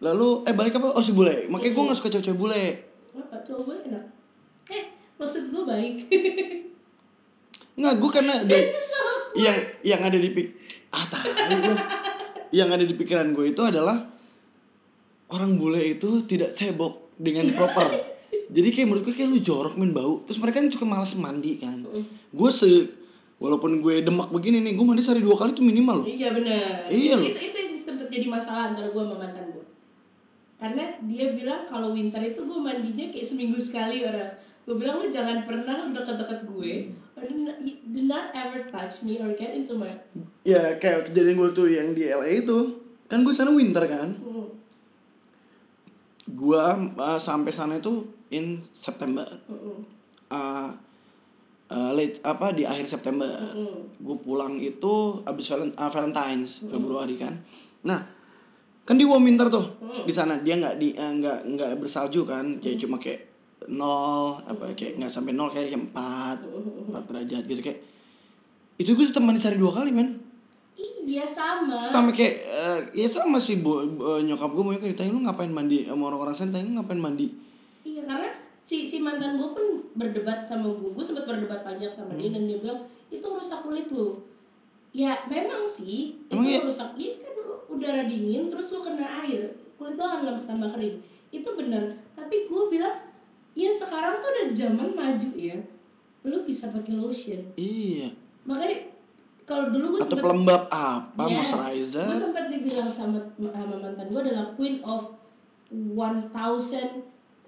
Speaker 1: Lalu eh balik apa? Oh si bule. Makanya gue gak suka cewek-cewek bule.
Speaker 2: apa cowok gue enak eh maksud gue baik
Speaker 1: Nggak, gue karena di- yang yang ada di pik ah tahu gua. yang ada di pikiran gue itu adalah orang bule itu tidak cebok dengan proper. jadi kayak menurut gue kayak lu jorok main bau terus mereka kan suka malas mandi kan
Speaker 2: Mm.
Speaker 1: gue se walaupun gue demak begini nih gue mandi sehari dua kali tuh minimal loh
Speaker 2: Iya
Speaker 1: Oh.
Speaker 2: benar.
Speaker 1: Iya loh.
Speaker 2: Itu itu yang sempat jadi masalah antara gue sama mantan gue. Karena dia bilang kalau winter itu gue mandinya kayak seminggu sekali orang. Gue bilang lu jangan pernah deket-deket gue. Or do not, do not ever touch me or get into my.
Speaker 1: ya kayak kejadian gue tuh yang di LA itu kan gue sana winter kan
Speaker 2: Hmm,
Speaker 1: gue uh, sampai sana itu in September
Speaker 2: hmm, hmm,
Speaker 1: uh, uh, late apa di akhir September
Speaker 2: hmm.
Speaker 1: gue pulang itu abis valen- ah, Valentine's
Speaker 2: Mm.
Speaker 1: Februari kan nah kan di warm winter tuh
Speaker 2: Mm.
Speaker 1: di sana dia nggak di eh, nggak nggak bersalju kan ya cuma kayak nol apa kayak nggak sampai nol kayak empat
Speaker 2: Hmm.
Speaker 1: empat derajat gitu kayak itu gue temani sehari dua kali men
Speaker 2: Iya sama.
Speaker 1: sama kayak eh, ya sama sih bu, bu- nyokap gue mau ditanya lu ngapain mandi sama orang-orang sana tanya lu ngapain mandi
Speaker 2: Iya karena si si mantan gue pun berdebat sama gue, gue sempat berdebat panjang sama dia dan dia bilang itu rusak kulit lu. Ya memang sih
Speaker 1: Emang iya?
Speaker 2: itu rusak. Iya kan lu udara dingin terus lu kena air kulit lu akan tambah kering. Itu benar. Tapi gue bilang ya sekarang tuh udah zaman maju ya. Lu bisa pakai lotion.
Speaker 1: iya
Speaker 2: Makanya kalau dulu gue
Speaker 1: atau
Speaker 2: sempat
Speaker 1: pelembab apa
Speaker 2: Yes.
Speaker 1: moisturizer
Speaker 2: gue sempat dibilang sama, sama mantan gue adalah queen of 1000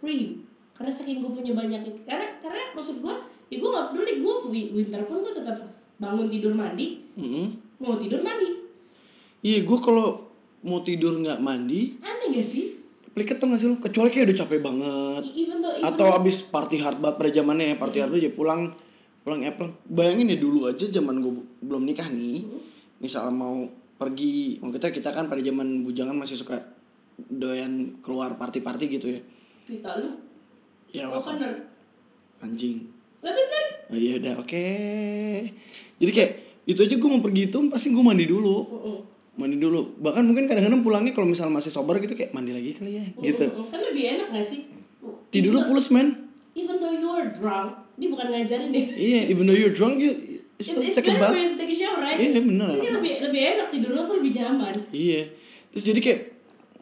Speaker 2: cream karena saking gue punya banyak karena karena maksud gue ya gue nggak peduli gue winter pun gue tetap bangun tidur mandi
Speaker 1: Mm-mm.
Speaker 2: mau tidur mandi
Speaker 1: iya gue kalau mau tidur nggak mandi
Speaker 2: aneh gak sih
Speaker 1: pliket tuh gak sih lu kecuali kayak udah capek banget
Speaker 2: I- even though even
Speaker 1: atau abis party hard banget pada zamannya ya party hard tuh ya pulang pulang Apple bayangin ya dulu aja zaman gue belum nikah nih
Speaker 2: Mhm.
Speaker 1: misal mau pergi mau kita kita kan pada zaman bujangan masih suka doyan keluar party-party gitu ya
Speaker 2: kita lu
Speaker 1: ya
Speaker 2: oh
Speaker 1: apa
Speaker 2: bener
Speaker 1: anjing
Speaker 2: lah bener
Speaker 1: oh, iya udah oke jadi kayak itu aja gue mau pergi itu pasti gue mandi dulu
Speaker 2: Mm-mm.
Speaker 1: mandi dulu bahkan mungkin kadang-kadang pulangnya kalau misal masih sober gitu kayak mandi lagi kali ya gitu
Speaker 2: Mm-mm. kan lebih enak gak sih
Speaker 1: tidur lu pulas men
Speaker 2: even though you're drunk ini bukan ngajarin deh
Speaker 1: iya even though you're drunk you it's
Speaker 2: It-
Speaker 1: not
Speaker 2: it's
Speaker 1: take a
Speaker 2: better
Speaker 1: bath
Speaker 2: for you to take a shower right
Speaker 1: Iya bener
Speaker 2: Jadi lebih lebih enak tidur lu tuh lebih nyaman
Speaker 1: Iya Terus jadi kayak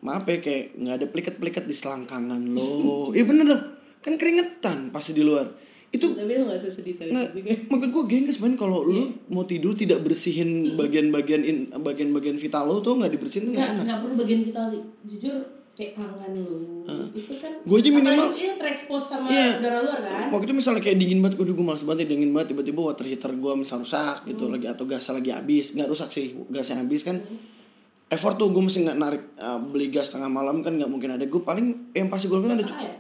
Speaker 1: Maaf ya kayak nggak ada pliket-pliket di selangkangan lo Iya bener dong Kan keringetan pasti di luar Itu
Speaker 2: tapi lu gak usah sedih tadi
Speaker 1: nggak Maksud gue gengges men kalau lu mau tidur tidak bersihin bagian-bagian in- bagian-bagian vital lo tuh nggak dibersihin tuh
Speaker 2: nggak
Speaker 1: nggak enak
Speaker 2: nggak perlu bagian vital sih jujur kayak tangan lu itu kan
Speaker 1: Gua aja minimal-
Speaker 2: apalagi ini terekspos sama
Speaker 1: Iya.
Speaker 2: udara luar kan
Speaker 1: Waktu itu misalnya kayak dingin banget, aduh gue males banget ya dingin banget Tiba-tiba water heater gue misal rusak gitu lagi Atau gasnya lagi habis, nggak rusak sih gasnya habis kan Effort tuh gue mesti nggak narik eh, beli gas tengah malam kan nggak mungkin ada Gue paling yang pasti gue lakukan ada
Speaker 2: Masak air.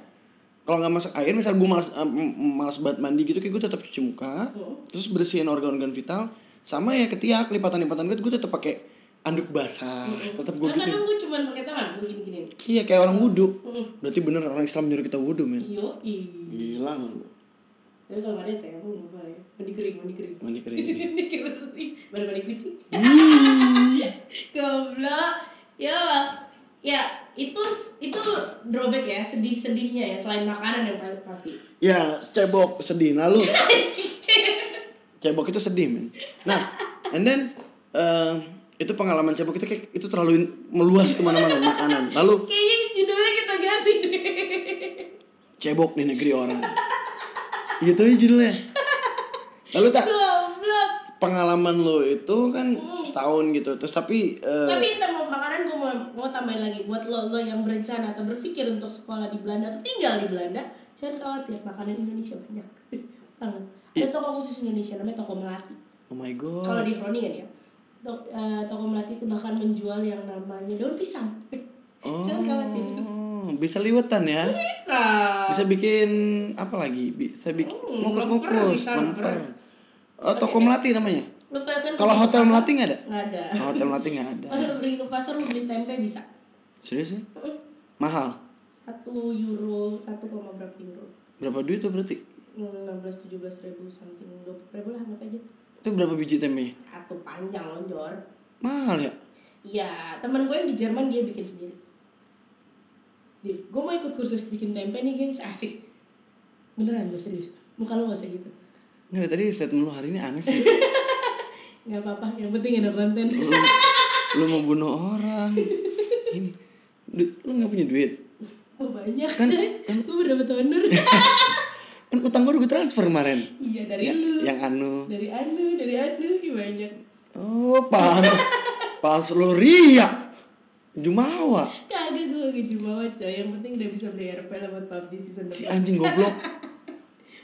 Speaker 1: kalau nggak masak air misal eh, gue malas em, em, malas banget mandi gitu kayak gue tetap cuci muka
Speaker 2: Hmm.
Speaker 1: terus bersihin organ-organ vital sama ya ketiak lipatan-lipatan gue gue tetap pakai anduk basah tetap gue
Speaker 2: Nah,
Speaker 1: gitu
Speaker 2: kadang gue cuma pakai tangan gue gini gini
Speaker 1: iya kayak orang wudhu
Speaker 2: Hmm.
Speaker 1: berarti bener orang Islam nyuruh kita wudhu men
Speaker 2: yo i
Speaker 1: gila nggak lu?
Speaker 2: tapi kalau nggak ada teh aku nggak boleh mandi kering mandi kering
Speaker 1: mandi kering
Speaker 2: mandi kering mandi mandi kucing
Speaker 1: gitu.
Speaker 2: goblok ya Allah. ya itu itu drawback ya sedih sedihnya ya selain makanan yang paling pasti
Speaker 1: ya cebok sedih nah lu cebok itu sedih men nah and then em, itu pengalaman cebok itu kayak itu terlalu in- meluas kemana-mana makanan lalu
Speaker 2: kayaknya judulnya kita ganti deh
Speaker 1: cebok di negeri orang gitu ya judulnya lalu tak
Speaker 2: goblok
Speaker 1: pengalaman lo itu kan setahun gitu terus tapi eh,
Speaker 2: Tapi ntar mau makanan gue mau, mau tambahin lagi buat lo lo yang berencana atau berpikir untuk sekolah di Belanda atau tinggal di Belanda, jangan khawatir makanan Indonesia banyak. Banget. Ada toko khusus Indonesia namanya toko melati.
Speaker 1: oh my god
Speaker 2: Kalau di Groningen ya. To- eh, toko melati itu bahkan menjual yang namanya daun pisang.
Speaker 1: oh
Speaker 2: Jangan khawatir.
Speaker 1: bisa liwetan ya
Speaker 2: Bisa.
Speaker 1: bisa bikin apa lagi bisa bikin
Speaker 2: Hmm,
Speaker 1: ngukus
Speaker 2: lemper
Speaker 1: ngukus
Speaker 2: bisa, lemper.
Speaker 1: lemper Eh, toko melati namanya
Speaker 2: Lo kan
Speaker 1: kalau hotel melati nggak ada
Speaker 2: nggak ada.
Speaker 1: Kalau hotel melati nggak ada
Speaker 2: Pas lo pergi ke pasar lo beli tempe bisa.
Speaker 1: serius ya mahal
Speaker 2: Satu euro, satu koma berapa euro? Hmm,
Speaker 1: berapa duit tuh berarti
Speaker 2: 16 17 ribu something 20 ribu lah anggap aja
Speaker 1: itu berapa biji tempe
Speaker 2: atau panjang lonjor
Speaker 1: mahal ya
Speaker 2: iya teman gue yang di Jerman dia bikin sendiri Dia, gue mau ikut kursus bikin tempe nih gengs asik beneran gue serius muka lo gak usah gitu
Speaker 1: nggak tadi statement lu hari ini aneh sih
Speaker 2: nggak apa-apa yang penting ada konten
Speaker 1: lu, lu mau bunuh orang ini du- lu nggak punya duit
Speaker 2: Oh, banyak
Speaker 1: Kan-
Speaker 2: coy. Gue udah dapat honor.
Speaker 1: kan utang gue udah gue transfer kemarin
Speaker 2: iya dari
Speaker 1: Ya,
Speaker 2: lu.
Speaker 1: yang anu
Speaker 2: Dari Anu, dari Anu ih, banyak.
Speaker 1: oh pantas pantas lo riak jumawa
Speaker 2: Kagak gue gak jumawa coy. Yang penting udah bisa beli RPL sama PUBG season
Speaker 1: si
Speaker 2: depan.
Speaker 1: anjing goblok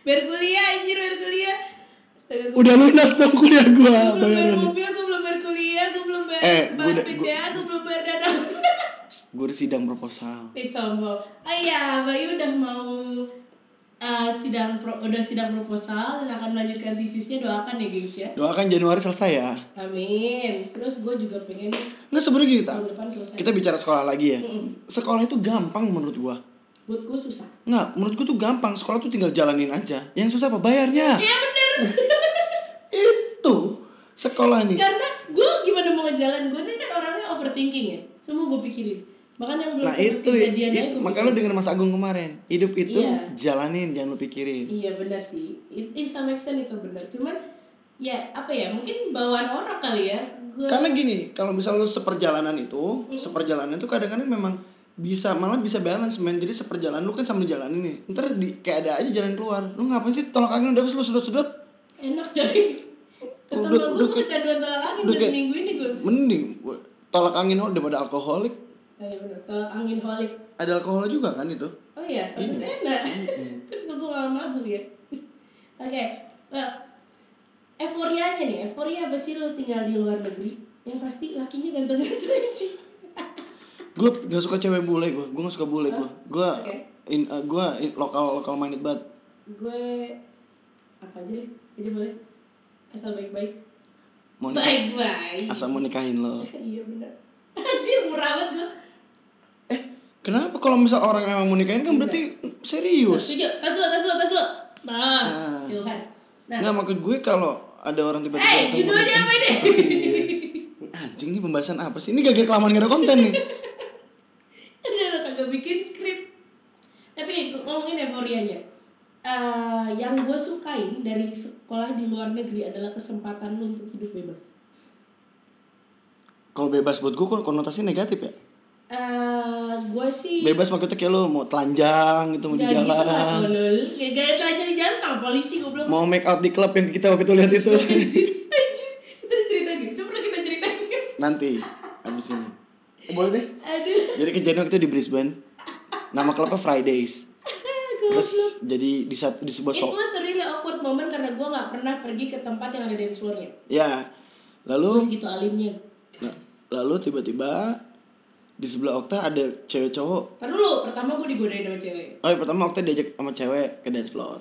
Speaker 2: Biar kuliah anjir, biar kuliah. Astaga, gua-
Speaker 1: udah lunas dong kuliah gue
Speaker 2: Gue belum bayar
Speaker 1: bayaran
Speaker 2: mobil, gue belum bayar kuliah, gue belum bayar,
Speaker 1: Eh, gua
Speaker 2: bayar
Speaker 1: udah-
Speaker 2: PCA, gue belum bayar dana.
Speaker 1: gue sidang proposal
Speaker 2: Ih, sombong. Oh iya, Bayu udah mau uh, sidang pro, udah sidang proposal dan akan melanjutkan tesisnya doakan ya gengs ya.
Speaker 1: doakan Januari selesai ya
Speaker 2: Amin. Terus gue juga pengen
Speaker 1: nggak sebenarnya gini, Ta.
Speaker 2: tahun depan selesai.
Speaker 1: kita bicara sekolah lagi ya
Speaker 2: Mm-mm.
Speaker 1: sekolah itu gampang menurut gue
Speaker 2: Buat gue susah.
Speaker 1: nggak menurut gue tuh gampang sekolah tuh tinggal jalanin aja yang susah apa bayarnya
Speaker 2: Iya bener.
Speaker 1: itu sekolah nih
Speaker 2: Karena gue gimana mau ngejalan gue ini kan orangnya overthinking ya. Semua gue pikirin. Bahkan yang belum
Speaker 1: nah
Speaker 2: sempet
Speaker 1: itu,
Speaker 2: kejadian aja
Speaker 1: itu.
Speaker 2: gua
Speaker 1: makanya lo
Speaker 2: pikirin.
Speaker 1: dengan Mas Agung kemarin hidup itu
Speaker 2: Iya.
Speaker 1: jalanin jangan lo pikirin
Speaker 2: Iya benar sih. It, in some extent itu benar. Cuman ya apa ya mungkin bawaan orang kali ya. Gua,
Speaker 1: karena gini kalau misal lo seperjalanan itu
Speaker 2: Mm.
Speaker 1: seperjalanan itu kadang-kadang memang bisa malah bisa balance men jadi seperjalanan lu kan sambil jalanin nih ntar di, kayak ada aja jalan keluar lu ngapain sih tolak angin udah habis lu sudut sudut
Speaker 2: enak coy. Ketemu
Speaker 1: Udah-
Speaker 2: gue
Speaker 1: udah
Speaker 2: gue kecanduan tolak angin
Speaker 1: udah
Speaker 2: udah
Speaker 1: kayak-
Speaker 2: seminggu ini gue.
Speaker 1: mending tolak angin oh, daripada alkoholik
Speaker 2: Oh, iya benar. Tolak angin holik.
Speaker 1: ada alkohol juga kan itu
Speaker 2: Oh iya, tapi
Speaker 1: Iya.
Speaker 2: enak. Tapi gue gak mabuk ya. Oke, well, euforianya nih, euforia apa sih lo tinggal di luar negeri? Yang pasti lakinya ganteng-ganteng aja.
Speaker 1: gue gak suka cewek bule gue gue gak suka bule gue gue
Speaker 2: Oke.
Speaker 1: in eh, gue in- lokal lokal minded banget
Speaker 2: Gue apa aja deh? Ini boleh. Asal baik-baik.
Speaker 1: mau nikah,
Speaker 2: Baik-baik.
Speaker 1: asal mau nikahin lo
Speaker 2: Iya benar. Anjir murah banget gue.
Speaker 1: Eh, kenapa kalau misal orang emang mau nikahin kan berarti serius
Speaker 2: Setuju. Tas dulu, tas dulu, tas dulu. Nah,
Speaker 1: Nah.
Speaker 2: Tuhan. Nah,
Speaker 1: nggak maksud gue kalau ada orang tiba-tiba
Speaker 2: eh
Speaker 1: datang mau
Speaker 2: judulnya
Speaker 1: nikahin-
Speaker 2: apa ini?
Speaker 1: Oh, iya. anjing ini pembahasan apa sih ini gagal kelamaan gak ada konten nih
Speaker 2: Udah lo kagak bikin skrip Tapi ngomongin euforianya Eh, Yang gue sukain dari sekolah di luar negeri adalah kesempatan lu untuk hidup bebas
Speaker 1: kalau bebas buat gue kok konotasi negatif ya
Speaker 2: Eh, Gue sih
Speaker 1: bebas maksudnya kayak lo mau telanjang gitu mau di
Speaker 2: Gak gitu lah
Speaker 1: jalan
Speaker 2: tolol Ya gak aja di jalan sama polisi goblok
Speaker 1: mau make out di klub yang kita waktu itu lihat itu
Speaker 2: Anjir Anjir Itu udah ceritain gitu Itu pernah kita ceritain kan
Speaker 1: nanti habis ini boleh deh
Speaker 2: Aduh
Speaker 1: Jadi kejadian waktu itu di Brisbane. Nama klubnya Fridays. Terus jadi di satu di sebuah
Speaker 2: Itu
Speaker 1: sok.
Speaker 2: was a really awkward moment karena gue gak pernah pergi ke tempat yang ada dance floornya
Speaker 1: Ya.
Speaker 2: Terus
Speaker 1: Lalu
Speaker 2: gitu alimnya
Speaker 1: nah, lalu tiba-tiba di sebelah Okta ada cewek cowok.
Speaker 2: Ntar dulu, pertama gue digodain sama cewek
Speaker 1: Oh, pertama Okta diajak sama cewek ke dance floor.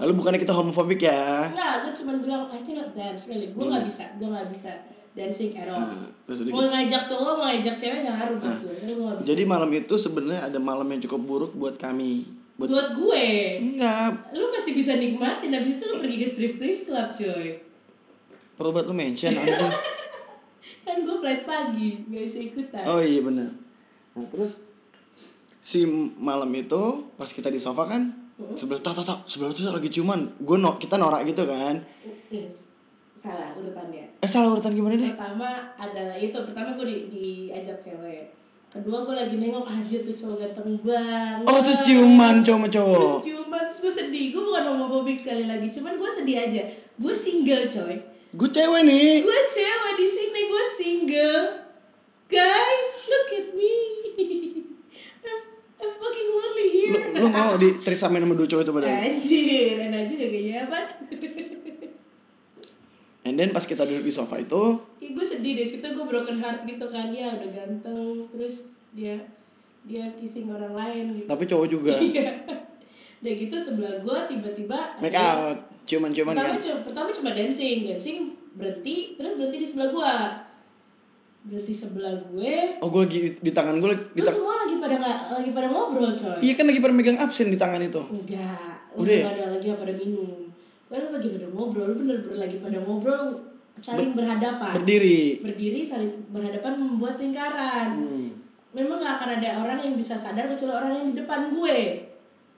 Speaker 1: Lalu bukannya kita homofobik ya.
Speaker 2: Enggak, gue cuma bilang I cannot dance really. Gue
Speaker 1: Hmm.
Speaker 2: nggak bisa, gue nggak bisa dancing at all.
Speaker 1: Nah, terus udah
Speaker 2: Mau ngajak cowok, mau ngajak cewek nggak ngaruh buat gue. Karena gue nggak
Speaker 1: gitu.
Speaker 2: bisa.
Speaker 1: Jadi malam itu sebenarnya ada malam yang cukup buruk buat kami. Buat
Speaker 2: Buat gue,
Speaker 1: enggak,
Speaker 2: lu masih bisa nikmatin. Habis itu lu pergi ke striptease club coy.
Speaker 1: perlu buat lu mention anjing.
Speaker 2: Kan gue flight pagi, nggak bisa ikutan.
Speaker 1: Oh iya benar. Nah terus si malam itu pas kita di sofa kan
Speaker 2: Mm.
Speaker 1: sebelah tak tak tak sebelah itu lagi ciuman gue no, kita norak gitu kan
Speaker 2: Eh, Salah urutannya.
Speaker 1: eh salah urutan gimana deh
Speaker 2: Pertama adalah itu. Pertama gue di- diajak cewek. Kedua gue lagi nengok aja tuh cowok ganteng banget.
Speaker 1: oh terus ciuman cowok sama
Speaker 2: terus
Speaker 1: cowok
Speaker 2: ciuman terus gue sedih gue bukan homofobik sekali lagi cuman gue sedih aja gue single coy
Speaker 1: gue cewek nih
Speaker 2: gue cewek di sini gue single guys look at me I'm, I'm fucking lonely
Speaker 1: lu,
Speaker 2: here
Speaker 1: lu mau di trisamen sama dua cowok itu padahal
Speaker 2: anjir enak aja kayaknya apa
Speaker 1: and then pas kita duduk di sofa itu
Speaker 2: ya, gue sedih deh situ gue broken heart gitu kan ya udah ganteng terus dia dia kissing orang lain gitu
Speaker 1: tapi cowok juga
Speaker 2: iya udah gitu sebelah gue tiba-tiba
Speaker 1: make
Speaker 2: ada-
Speaker 1: out ciuman ciuman
Speaker 2: pertama
Speaker 1: kan
Speaker 2: cuma pertama cuma dancing dancing berhenti terus berhenti di sebelah gua berhenti sebelah gue
Speaker 1: oh gue lagi di tangan gue lagi di
Speaker 2: terus
Speaker 1: tang-
Speaker 2: semua lagi pada nggak lagi pada ngobrol coy
Speaker 1: iya kan lagi pada megang absen di tangan itu
Speaker 2: enggak
Speaker 1: Udah ya?
Speaker 2: udah pada lagi pada minum baru lagi pada ngobrol lu bener-bener lagi pada ngobrol saling berhadapan
Speaker 1: berdiri
Speaker 2: berdiri saling berhadapan membuat lingkaran
Speaker 1: Hmm.
Speaker 2: memang nggak akan ada orang yang bisa sadar kecuali orang yang di depan gue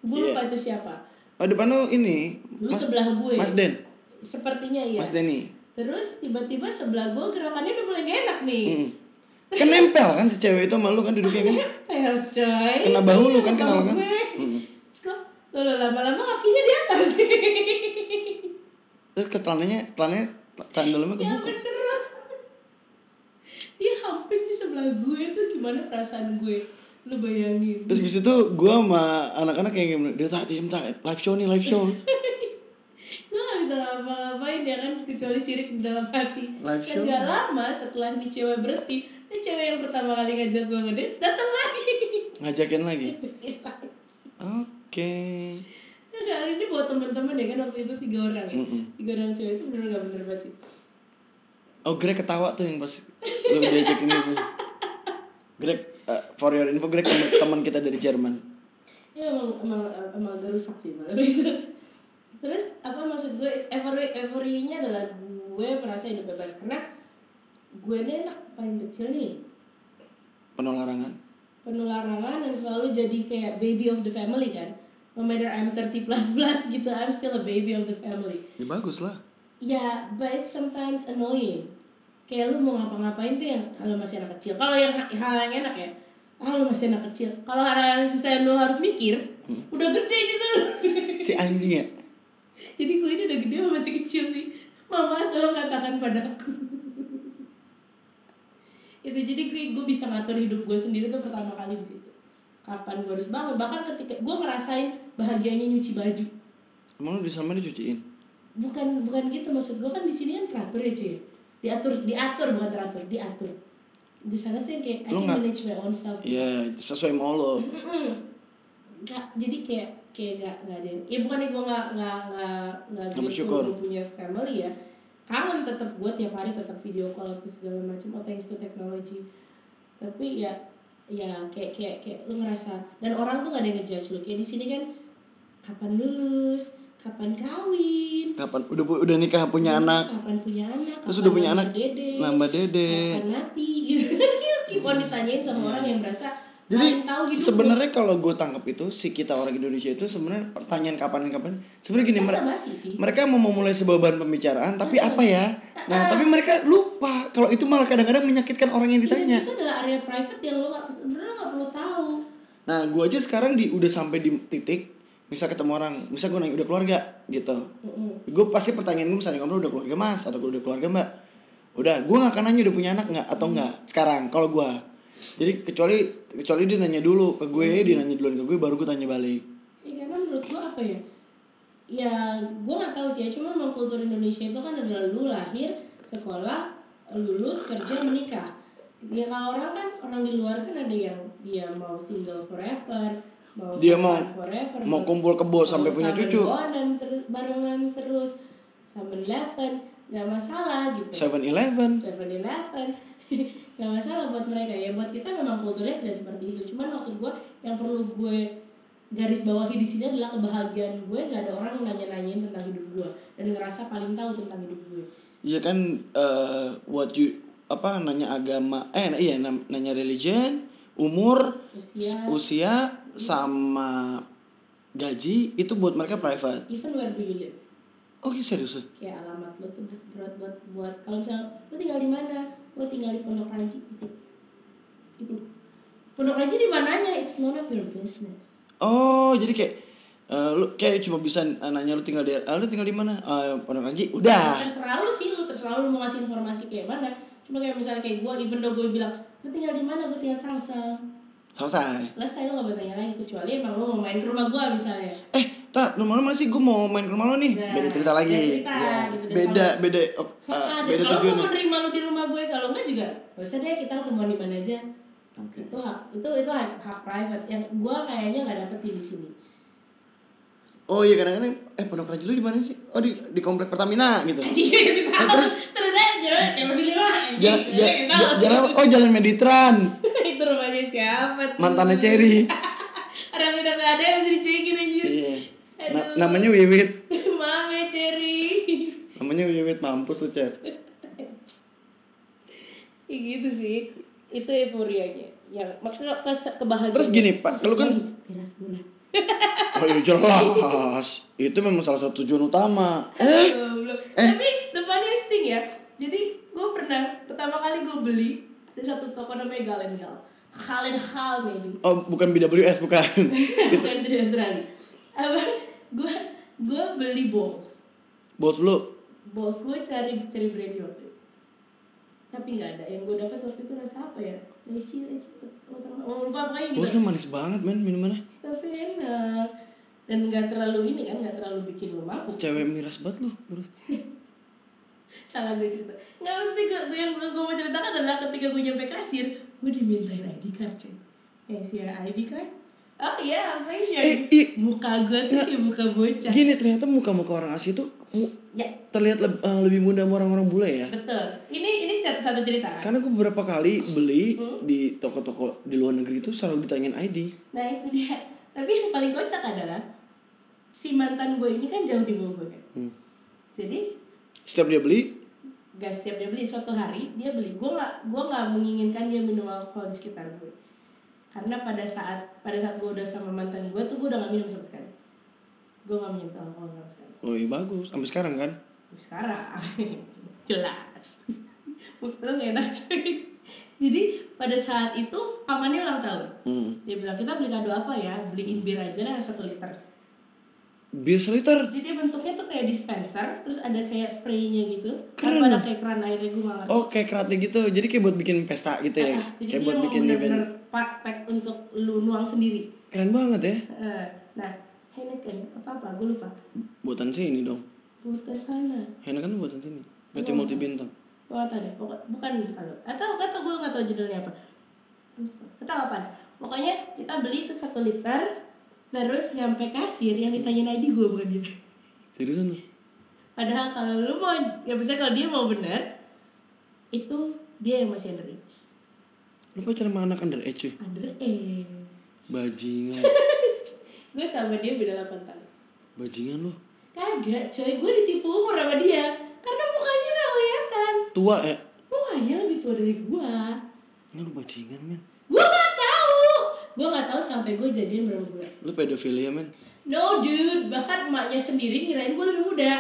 Speaker 2: gue
Speaker 1: Iya.
Speaker 2: lupa itu siapa
Speaker 1: oh depan lu ini
Speaker 2: lu
Speaker 1: mas
Speaker 2: sebelah gue
Speaker 1: mas Den
Speaker 2: sepertinya iya
Speaker 1: mas Denny
Speaker 2: terus tiba-tiba sebelah gue gerakannya udah mulai gak enak nih
Speaker 1: Mm. Kan nempel kan si cewek itu malu kan duduknya kan.
Speaker 2: Pel Ya, coy. Iya,
Speaker 1: Kena bahu lu kan, kenal kan?
Speaker 2: Gue.
Speaker 1: Mm-mm.
Speaker 2: Terus kok lo lo lama-lama kakinya di atas.
Speaker 1: Terus ke celananya, celananya candalnya
Speaker 2: ya
Speaker 1: kebuka.
Speaker 2: bener. loh. Dia hampir di sebelah gue tuh gimana perasaan gue. Lu bayangin.
Speaker 1: Terus abis itu gue sama anak-anak yang gimana, dia tak diem tak live show nih live show.
Speaker 2: Lo gak bisa ngapa-ngapain ya kan kecuali sirik di dalam hati.
Speaker 1: Live
Speaker 2: Dan
Speaker 1: show.
Speaker 2: gak lama setelah nih cewek berhenti, ini cewek yang pertama kali ngajak gue ngedate datang lagi.
Speaker 1: Ngajakin lagi. Oke.
Speaker 2: Nah, kali ini buat temen-temen ya kan waktu itu tiga orang ya.
Speaker 1: Mm-mm.
Speaker 2: Tiga orang cewek itu bener gak bener banget sih.
Speaker 1: Oh Greg ketawa tuh yang pas lu diajakin itu. Greg, eh, for your info Greg teman teman kita dari Jerman.
Speaker 2: Ya emang emang emang agak rusak sih malam itu. Terus apa maksud gue every every-nya adalah gue merasa hidup bebas karena gue ini anak paling kecil nih
Speaker 1: Penuh larangan.
Speaker 2: penularangan dan selalu jadi kayak baby of the family kan no matter I'm 30 plus plus gitu I'm still a baby of the family
Speaker 1: Ya bagus lah.
Speaker 2: ya but it's sometimes annoying kayak lu mau ngapa-ngapain tuh yang ah, lu masih anak kecil kalau yang ha- hal yang enak ya ah lu masih anak kecil kalau hal yang susah yang lu harus mikir udah gede juga lu
Speaker 1: Si anjing ya.
Speaker 2: Jadi gue ini udah gede sama masih kecil sih. Mama tolong katakan padaku. itu jadi gue, gue bisa ngatur hidup gue sendiri tuh pertama kali di situ. Kapan gue harus bangun? Bahkan ketika gue ngerasain bahagianya nyuci baju.
Speaker 1: Emang lu di sana dicuciin?
Speaker 2: Bukan bukan gitu maksud gue kan di sini kan teratur ya cuy. Diatur diatur bukan teratur diatur. Di sana tuh yang kayak I
Speaker 1: Lu
Speaker 2: can
Speaker 1: nggak-
Speaker 2: manage my own self.
Speaker 1: Ya sesuai mau lo.
Speaker 2: Nggak, jadi kayak kayak nggak nggak ada yang- ya bukannya gue nggak nggak nggak nggak
Speaker 1: Nggak
Speaker 2: grateful
Speaker 1: bersyukur.
Speaker 2: gue punya family ya kangen tetap gue tiap hari tetap video call apa segala macam oh thanks to technology tapi ya ya kayak kayak kayak lu ngerasa dan orang tuh nggak ada yang ngejudge lu kayak di sini kan kapan lulus kapan kawin
Speaker 1: Kapan udah pu- udah nikah punya anak,
Speaker 2: kapan Iya, punya anak
Speaker 1: Terus
Speaker 2: kapan
Speaker 1: udah punya
Speaker 2: nambah
Speaker 1: anak, nah,
Speaker 2: dede,
Speaker 1: nambah dede.
Speaker 2: kapan mati gitu keep on ditanyain sama orang yang merasa
Speaker 1: Iya. Jadi
Speaker 2: paling tahu gitu
Speaker 1: sebenarnya kalau gue tangkap itu si kita orang Indonesia itu sebenarnya pertanyaan kapan kapan sebenarnya gini mereka
Speaker 2: sama sih sih
Speaker 1: mereka mau memulai sebuah bahan pembicaraan tapi apa ya nah tapi mereka lupa kalau itu malah kadang-kadang menyakitkan orang yang ditanya
Speaker 2: Iya, itu adalah area private yang lo nggak sebenarnya nggak perlu tahu
Speaker 1: Nah, gue aja sekarang di udah sampai di titik, misal ketemu orang, misal gue nanya udah keluarga gitu.
Speaker 2: Mm-mm.
Speaker 1: Gue pasti pertanyaan gue misalnya ngobrol udah keluarga mas atau udah keluarga mbak. Udah, gue gak akan nanya udah punya anak nggak atau nggak sekarang kalau gue. Jadi kecuali kecuali dia nanya dulu ke gue, dia nanya duluan ke gue, baru gue tanya balik.
Speaker 2: ya, karena menurut gue apa ya ya gue nggak tahu sih ya cuma memang kultur Indonesia itu kan adalah lu lahir sekolah lulus kerja menikah ya kalau orang kan orang di luar kan ada yang dia mau single forever mau
Speaker 1: Dia mau-
Speaker 2: pacaran forever
Speaker 1: Mau kumpul kebo sampai punya cucu,
Speaker 2: dan terus barengan terus sama eleven nggak masalah gitu
Speaker 1: Seven Eleven.
Speaker 2: 7-Eleven Gak masalah buat mereka ya Buat kita memang kulturnya tidak seperti itu Cuman maksud gue yang perlu gue garis bawahi di sini adalah kebahagiaan gue Gak ada orang yang nanya-nanyain tentang hidup gue Dan ngerasa paling tahu tentang hidup gue
Speaker 1: Iya kan, eh what you apa nanya agama, eh iya nam- nanya religion, umur,
Speaker 2: Usia,
Speaker 1: usia sama gaji itu buat mereka private.
Speaker 2: even where do you live
Speaker 1: Oke serius ya?
Speaker 2: Kayak alamat lo tuh buat buat buat Kalau misalnya lo tinggal di mana Lo tinggal di Pondok Ranji gitu Itu Pondok Ranji di mananya It's none of your business
Speaker 1: Oh jadi kayak eh, lu kayak cuma bisa eh, nanya lu tinggal di ah, lu tinggal di mana? Eh, Pondok Ranji. Udah.
Speaker 2: terserah lu sih lu terserah lu mau ngasih informasi kayak mana cuma kayak misalnya kayak gue even though gue bilang lu tinggal di mana gue tinggal Tangsel
Speaker 1: Selesai.
Speaker 2: selesai lu gak bertanya lagi kecuali emang lu mau main ke rumah gue misalnya
Speaker 1: Eh, tak, lu malu mana sih? Gue mau main ke rumah lu nih.
Speaker 2: Nah,
Speaker 1: beda cerita lagi.
Speaker 2: beda cerita,
Speaker 1: Ya,
Speaker 2: gitu. Dan
Speaker 1: Beda, beda, oh, eh,
Speaker 2: Ah, dan
Speaker 1: beda
Speaker 2: kalau gue
Speaker 1: tujuan.
Speaker 2: mau nerima lu di rumah gue kalau enggak juga gak usah deh kita ketemuan di mana aja
Speaker 1: Oke.
Speaker 2: itu hak itu itu hak, hak private yang gue kayaknya nggak dapetin di sini
Speaker 1: Oh iya kadang-kadang eh Pondok Ranji lu di mana sih? Oh di di komplek Pertamina gitu.
Speaker 2: Iya, Anjing,
Speaker 1: terus?
Speaker 2: terus aja kayak masih lima anjing.
Speaker 1: Jalan,
Speaker 2: Kayak
Speaker 1: jalan,
Speaker 2: tahu.
Speaker 1: jalan, oh jalan Meditran
Speaker 2: itu rumahnya siapa tuh?
Speaker 1: mantannya Cherry.
Speaker 2: orang udah gak ada yang bisa dicekin anjir
Speaker 1: Iya.
Speaker 2: Aduh.
Speaker 1: Na- namanya Wiwit.
Speaker 2: Mame Cherry
Speaker 1: Namanya Wiwit mampus lu, Cer.
Speaker 2: Ya gitu sih Itu euforianya Yang maksudnya kes- kebahagiaan
Speaker 1: Terus gini, Pak,
Speaker 2: Maksud
Speaker 1: lu kan-
Speaker 2: gue, Miras murah
Speaker 1: Oh iya jelas. Itu memang salah satu tujuan utama. Eh,
Speaker 2: Goblok. Tapi the funniest thing ya Jadi gue pernah Pertama kali gue beli Ada satu toko namanya Galengal. Galen Hal maybe.
Speaker 1: Oh, bukan BWS, bukan.
Speaker 2: Bukan itu di Australia. Apa? Gue gue beli balls.
Speaker 1: Bos lu.
Speaker 2: Balls gue cari cari brandnya waktu itu. Tapi nggak ada. Yang gue dapat waktu itu rasa apa ya? Leci, leci, oh lupa pokoknya gitu.
Speaker 1: Bos kan manis banget, men, minumannya.
Speaker 2: Tapi enak. Dan nggak terlalu ini kan, nggak terlalu bikin lo mabuk.
Speaker 1: Cewek miras banget lu, bro.
Speaker 2: salah gue cerita nggak mesti gue, gue yang gue mau ceritakan adalah ketika gue nyampe kasir gue dimintain ID card cuy eh sih ID card oh iya pleasure
Speaker 1: Eh, i-
Speaker 2: muka gue tuh kayak muka bocah
Speaker 1: Gini, ternyata muka-muka orang Asia tuh mu-
Speaker 2: ya
Speaker 1: terlihat leb- eh, lebih muda sama orang-orang bule ya.
Speaker 2: betul ini ini satu, satu cerita kan?
Speaker 1: Karena gue beberapa kali beli
Speaker 2: Hmm.
Speaker 1: di toko-toko di luar negeri itu selalu ditanyain ID.
Speaker 2: nah itu dia tapi yang paling kocak adalah si mantan gue ini kan jauh di bawah gue kan
Speaker 1: Hmm.
Speaker 2: jadi
Speaker 1: Setiap dia beli,
Speaker 2: gak setiap dia beli suatu hari dia beli gue nggak gue nggak menginginkan dia minum alkohol di sekitar gue karena pada saat pada saat gue udah sama mantan gue tuh gue udah gak minum sama sekali gue gak minum alkohol sama sekali
Speaker 1: oh iya bagus. Sampai sekarang kan.
Speaker 2: sekarang jelas lo gak enak cuy jadi pada saat itu pamannya ulang tahun
Speaker 1: Hmm.
Speaker 2: dia bilang kita beli kado apa ya beliin bir aja lah yang satu liter
Speaker 1: Bir seliter.
Speaker 2: jadi dia bentuknya tuh kayak dispenser terus ada kayak spraynya gitu
Speaker 1: Keren.
Speaker 2: Tanpa ada kayak keran airnya gue gak ngerti
Speaker 1: Oh, kayak keratnya gitu. Jadi kayak buat bikin pesta gitu ya.
Speaker 2: Ah, jadi
Speaker 1: kayak
Speaker 2: dia
Speaker 1: buat
Speaker 2: mau
Speaker 1: bikin event.
Speaker 2: bener-bener pa- pack untuk lu nuang sendiri.
Speaker 1: Keren banget ya.
Speaker 2: Eh, nah, Heineken apa apa gue lupa.
Speaker 1: Buatan sini dong.
Speaker 2: Bukan sana.
Speaker 1: Heineken buatan sini. Berarti
Speaker 2: Iya.
Speaker 1: multi bintang.
Speaker 2: Gue nggak tahu deh. Pokok, bukan kalau atau atau gue nggak tahu judulnya apa. Kita apa? Pokoknya kita beli itu satu liter. Terus nyampe kasir yang ditanyain ID gue bukan dia.
Speaker 1: Seriusan lu?
Speaker 2: Padahal kalau lu mau, ya bisa kalau dia mau bener, itu dia yang masih underage.
Speaker 1: Lu pacaran sama anak underage cuy.
Speaker 2: Underage.
Speaker 1: Bajingan.
Speaker 2: Gue sama dia beda 8 tahun.
Speaker 1: Bajingan lu.
Speaker 2: Kagak coy, gue ditipu umur sama dia Karena mukanya gak kelihatan
Speaker 1: Tua ya.
Speaker 2: Mukanya lebih tua dari gue
Speaker 1: Ini lu bajingan men.
Speaker 2: Gue gak tahu Gue gak tahu sampai gue jadian berapa bulan
Speaker 1: Lu pedofilia men.
Speaker 2: No dude, bahkan emaknya sendiri ngirain gue lebih muda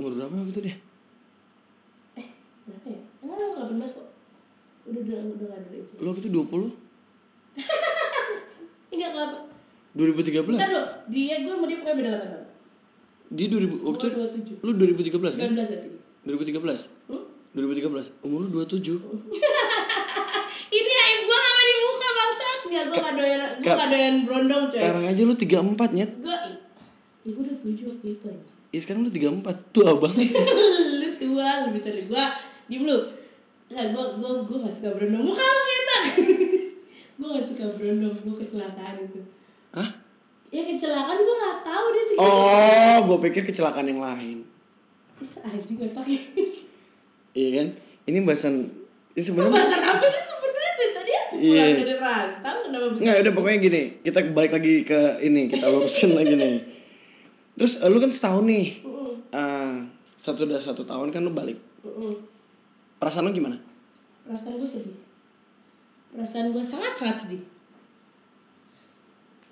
Speaker 1: Umur berapa waktu itu dia?
Speaker 2: Berapa ya? Enggak ada kalau 18 kok Udah udah udah gak ada itu
Speaker 1: Lu waktu itu 20?
Speaker 2: Enggak kalau
Speaker 1: 2013?
Speaker 2: Bentar dong, dia gue sama dia pokoknya beda 8 tahun
Speaker 1: Di 2000 waktu
Speaker 2: Gue
Speaker 1: itu lu 2013 kan?
Speaker 2: 27, 19 berarti
Speaker 1: 2013.
Speaker 2: Hmm?
Speaker 1: 2013. Umur lu 27.
Speaker 2: Ini aib gue gak di muka bangsat Enggak, gue gak doyan, gue
Speaker 1: Sekar-
Speaker 2: gak doyan brondong coy
Speaker 1: Sekarang aja lu 34 nyet.
Speaker 2: Gue, ya gue udah 7 waktu itu aja
Speaker 1: Ya sekarang lu 34. Tua banget.
Speaker 2: lu tua lebih tua dari gua diem lu nggak gua gua gua gak suka berondong muka lu enak gua gak suka berondong gua kecelakaan itu
Speaker 1: Hah?
Speaker 2: ya kecelakaan gua gak tahu deh sih
Speaker 1: Oh, gua pikir kecelakaan yang lain.
Speaker 2: anjing gak pakai
Speaker 1: Iya kan? Ini bahasan ini sebenarnya
Speaker 2: pembahasan apa sih sebenarnya dari tadi ya? aku
Speaker 1: Hmm. Iya.
Speaker 2: pulang dari rantau kenapa begini
Speaker 1: Enggak, udah pokoknya gini. Kita balik lagi ke ini, kita lurusin lagi nih. Terus eh, lu kan setahun nih.
Speaker 2: Mm-mm,
Speaker 1: Ah, satu udah satu tahun kan lu balik.
Speaker 2: mm-mm.
Speaker 1: Perasaan lu gimana?
Speaker 2: perasaan gua sedih perasaan gua sangat sangat sedih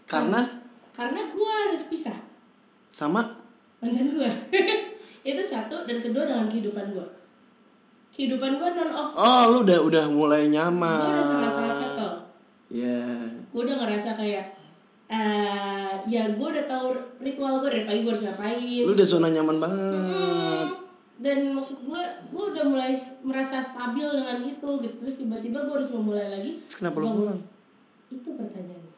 Speaker 1: Karena
Speaker 2: karena gua harus pisah
Speaker 1: sama
Speaker 2: mantan gua itu satu dan kedua dengan kehidupan gua kehidupan gua non off
Speaker 1: Oh, lu udah udah mulai
Speaker 2: gue udah sangat-sangat
Speaker 1: nyaman.
Speaker 2: settle
Speaker 1: Iya.
Speaker 2: gue udah ngerasa kayak eh ya gue udah tahu ritual gue dari pagi gue harus ngapain
Speaker 1: Lu udah zona nyaman banget.
Speaker 2: Iya. Mm-mm. dan maksud gue gue udah mulai s- merasa stabil dengan itu gitu terus tiba-tiba gue harus memulai lagi
Speaker 1: Terus kenapa lu pulang?
Speaker 2: itu pertanyaannya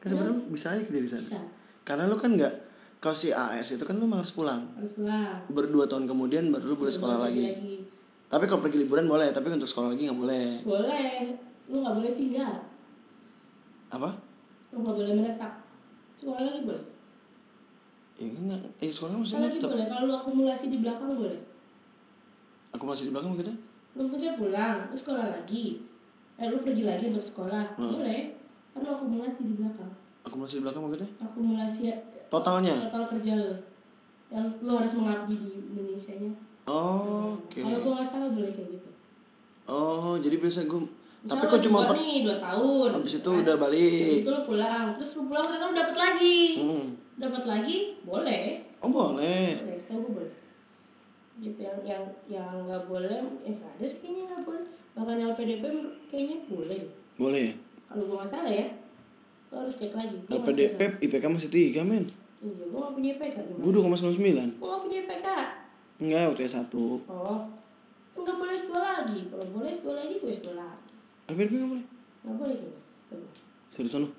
Speaker 1: Kan sebenarnya bisa aja dari sana.
Speaker 2: Iya. bisa
Speaker 1: Karena lu kan nggak kalau si AS itu kan lu harus pulang.
Speaker 2: harus pulang
Speaker 1: Berdua tahun kemudian baru lu
Speaker 2: Iya,
Speaker 1: boleh sekolah lagi. Tapi kalau pergi liburan boleh, tapi untuk sekolah lagi nggak boleh.
Speaker 2: boleh lu nggak boleh tinggal
Speaker 1: Apa?
Speaker 2: lu nggak boleh menetap sekolah lagi boleh
Speaker 1: Ya enggak. Eh sekolah masih
Speaker 2: sekolah lagi
Speaker 1: laptop.
Speaker 2: boleh kalau lu akumulasi di belakang boleh
Speaker 1: Aku masih di belakang gitu.
Speaker 2: lu kerja pulang lu sekolah lagi eh lu pergi lagi untuk sekolah
Speaker 1: Hmm.
Speaker 2: boleh kan lu akumulasi di belakang
Speaker 1: Aku masih di belakang gitu.
Speaker 2: akumulasi eh,
Speaker 1: Totalnya.
Speaker 2: total kerja lu yang lu harus mengabdi di Indonesia nya
Speaker 1: Oke.
Speaker 2: kalau gua nggak salah boleh kayak gitu
Speaker 1: Oh, jadi biasa gue
Speaker 2: Misalnya
Speaker 1: Tapi
Speaker 2: lu
Speaker 1: kok cuma
Speaker 2: sekolah
Speaker 1: per-
Speaker 2: nih dua tahun
Speaker 1: habis itu
Speaker 2: kan?
Speaker 1: udah
Speaker 2: Habis
Speaker 1: balik.
Speaker 2: itu lu pulang terus lu pulang ternyata lu dapat lagi
Speaker 1: Hmm.
Speaker 2: dapat lagi boleh
Speaker 1: Oh, boleh.
Speaker 2: boleh tau gua boleh gitu yang yang yang nggak boleh eh nggak ada sih kayaknya nggak boleh bahkan LPDB menur- kayaknya boleh deh.
Speaker 1: Boleh ya?
Speaker 2: kalau gua nggak salah ya lo harus cek lagi Gua nggak
Speaker 1: LPD
Speaker 2: punya-
Speaker 1: Pep IPK masih 3 men
Speaker 2: iya gua nggak punya IPK
Speaker 1: Gue
Speaker 2: gimana
Speaker 1: 2,99
Speaker 2: gua nggak punya IPK
Speaker 1: Enggak waktu S1
Speaker 2: oh nggak boleh S2 lagi kalau boleh S2 lagi gua S2 lagi
Speaker 1: LPDB nggak boleh
Speaker 2: nggak boleh kayaknya Tuh.
Speaker 1: Seriusan lu?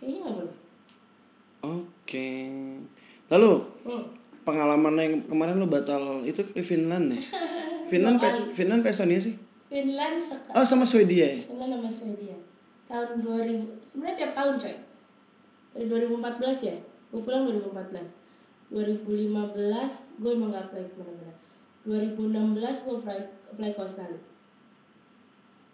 Speaker 2: kayaknya nggak boleh
Speaker 1: Oke Lalu
Speaker 2: hmm.
Speaker 1: pengalaman yang kemarin lu batal itu ke Finland ya? Finland,
Speaker 2: Dua
Speaker 1: pe
Speaker 2: kali.
Speaker 1: Finland pe Estonia sih?
Speaker 2: Finland sekarang
Speaker 1: Oh sama Swedia ya?
Speaker 2: Finland sama Swedia tahun 2000 sebenarnya tiap tahun coy dari 2014 ya gue pulang 2014 2015 gue emang gak apply kemana-mana 2016 gue apply, apply ke Australia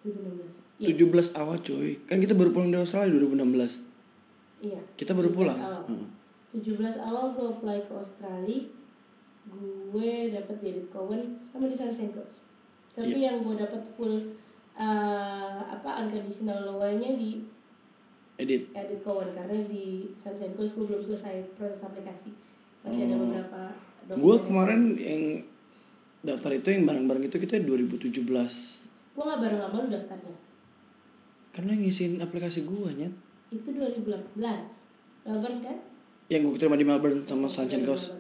Speaker 2: 2016 iya
Speaker 1: 17 awal coy Kan kita baru pulang dari Australia 2016
Speaker 2: iya
Speaker 1: Kita baru
Speaker 2: 17
Speaker 1: pulang Hmm.
Speaker 2: awal.
Speaker 1: Heeh.
Speaker 2: 17 awal gue apply ke Australia gue dapat David Cowan sama di Sunshine Coast tapi
Speaker 1: Iya.
Speaker 2: yang gue dapat full eh, apa unconditional law-nya di
Speaker 1: Edit
Speaker 2: edit kawan karena di Sunshine Coast gue belum selesai proses aplikasi masih ada
Speaker 1: Oh.
Speaker 2: beberapa dokumen
Speaker 1: Gue
Speaker 2: yang-
Speaker 1: kemarin yang daftar itu yang bareng-bareng itu kita 2017
Speaker 2: gue nggak bareng sama lu daftarnya
Speaker 1: Karena Kan ngisiin aplikasi gua nya
Speaker 2: itu 2018 Melbourne kan
Speaker 1: Yang gue terima di Melbourne sama
Speaker 2: Iya,
Speaker 1: Sunshine Coast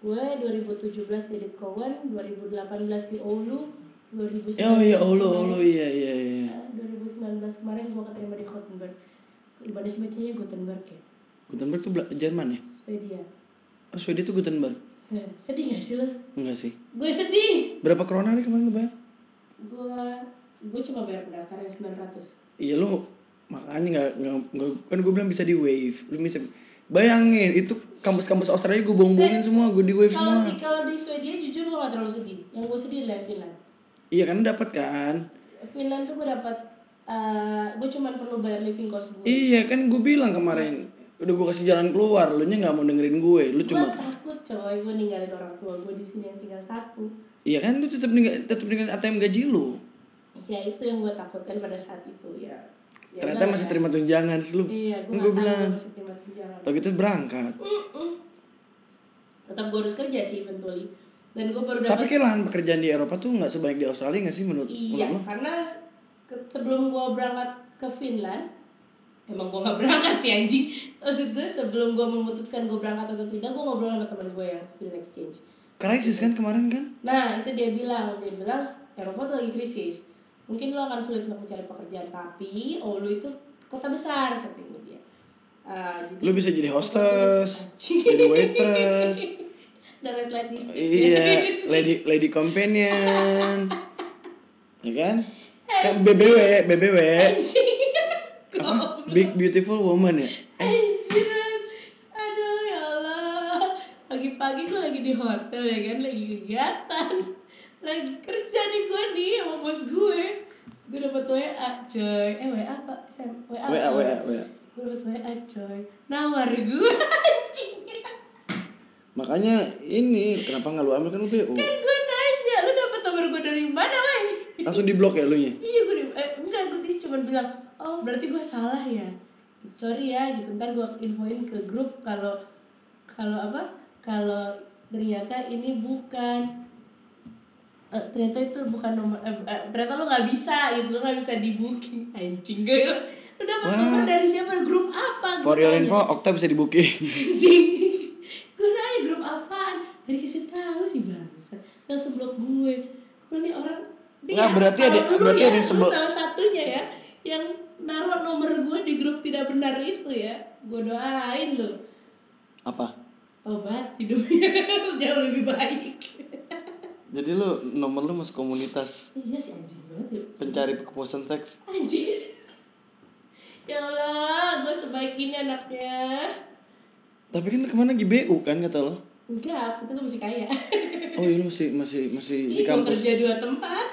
Speaker 2: gue 2017 di edit kawan 2018 di Oulu 2019
Speaker 1: Oh iya, Allah,
Speaker 2: kemarin-
Speaker 1: Allah, iya, iya, iya
Speaker 2: eh, 2019 kemarin gue keterima di Gothenburg ibadah sebacanya Gothenburg ya
Speaker 1: Gutenberg tuh Bela- Jerman ya?
Speaker 2: Swedia
Speaker 1: Oh, Swedia tuh Gutenberg?
Speaker 2: Heh, sedih gak sih lo?
Speaker 1: Enggak sih
Speaker 2: gue sedih
Speaker 1: Berapa corona nih kemarin lu bayar?
Speaker 2: gue gue cuma bayar pendaftaran 900
Speaker 1: Iya lu makanya nggak nggak- nggak kan gue bilang bisa di wave lu bisa bayangin itu kampus-kampus Australia gue bongbongin semua gue di wave
Speaker 2: Eh, Kalau
Speaker 1: semua
Speaker 2: sih kalau di Swedia jujur gue gak terlalu sedih. Yang gue sedih adalah Finland.
Speaker 1: iya karena dapat kan
Speaker 2: Finland tuh gue dapat gue cuman perlu bayar living cost gue.
Speaker 1: iya kan gue bilang kemarin udah gue kasih jalan keluar lu nya nggak mau dengerin gue lu
Speaker 2: Gue
Speaker 1: cuma
Speaker 2: takut coy gue ninggalin orang tua gue di sini yang tinggal satu.
Speaker 1: iya kan lu tetap ninggal- tetap dengan ATM gaji lu
Speaker 2: Ya itu yang gue takutkan pada saat itu ya. Ya
Speaker 1: ternyata
Speaker 2: udah
Speaker 1: masih
Speaker 2: ya.
Speaker 1: terima tunjangan sih lu
Speaker 2: Iya gue
Speaker 1: Gua
Speaker 2: gak bilang.
Speaker 1: bilang.
Speaker 2: masih terima tunjangan.
Speaker 1: tau gitu berangkat
Speaker 2: Mm-mm. Tetap gue harus kerja sih eventually. Dan gue baru
Speaker 1: tapi
Speaker 2: dapat
Speaker 1: kayak lahan pekerjaan di Eropa tuh nggak sebanyak di Australia nggak sih menurut
Speaker 2: Iya,
Speaker 1: menurut lo
Speaker 2: karena ke- sebelum gua berangkat ke Finland, emang gua nggak berangkat sih anjing. Maksud gue sebelum gua memutuskan gua berangkat atau tidak, gua ngobrol sama teman gue yang student exchange.
Speaker 1: krisis kan kemarin kan
Speaker 2: Nah, itu dia bilang, dia bilang Eropa tuh lagi krisis. Mungkin lo akan sulit untuk mencari pekerjaan, tapi Oulu itu kota besar, katanya dia. Ah, jadi
Speaker 1: lu bisa jadi hostess
Speaker 2: Anjing.
Speaker 1: jadi waitress
Speaker 2: dan lain-lain listrik.
Speaker 1: Iya, lady lady companion. ya kan?
Speaker 2: Eh,
Speaker 1: Kan
Speaker 2: iya.
Speaker 1: BBW, BBW.
Speaker 2: Anjing.
Speaker 1: Apa? Big Beautiful Woman ya?
Speaker 2: Anjir, aduh ya Allah Pagi-pagi gue lagi di hotel ya kan, lagi kegiatan Lagi kerja nih gue nih sama bos gue Gue dapet WA coy, eh WA pak, Sam, WA
Speaker 1: WA WA WA.
Speaker 2: Gue dapet WA coy, nawar gue anjing
Speaker 1: Makanya ini kenapa nggak lu ambil kan lu BO?
Speaker 2: Kan gue nanya, lu dapet nomor gue dari mana wey?
Speaker 1: Langsung di blok ya lu nya.
Speaker 2: Iya gue, di- eh, enggak gue dia cuma bilang, oh berarti gue salah ya. Sorry ya, gitu ntar gue infoin ke grup kalau kalau apa? Kalau ternyata ini bukan eh, ternyata itu bukan nomor eh, eh, ternyata lo nggak bisa gitu lo nggak bisa di booking anjing gue bilang, lo dapat
Speaker 1: Wah.
Speaker 2: nomor dari siapa grup apa Gue
Speaker 1: For your
Speaker 2: tanya.
Speaker 1: info, Okta bisa di booking.
Speaker 2: anjing gue nanya grup apaan dari kasih tahu sih bang langsung blok gue lo nih orang dia-
Speaker 1: Nggak, berarti ada-
Speaker 2: kalau lu
Speaker 1: berarti
Speaker 2: ya,
Speaker 1: ada yang
Speaker 2: lu
Speaker 1: sebel-
Speaker 2: salah satunya ya yang naruh nomor gue di grup tidak benar itu ya gue doain lo
Speaker 1: Apa?
Speaker 2: obat hidupnya jauh lebih baik
Speaker 1: Jadi lu nomor lu masuk komunitas
Speaker 2: iya sih anjing banget ya
Speaker 1: pencari kepuasan seks.
Speaker 2: anjing ya Allah gue sebaik ini anaknya
Speaker 1: Tapi kan kemana lagi BU kan kata lo?
Speaker 2: enggak kita tuh masih kaya
Speaker 1: Oh iya lu masih masih masih di
Speaker 2: Ih, gua
Speaker 1: kampus,
Speaker 2: kerja dua tempat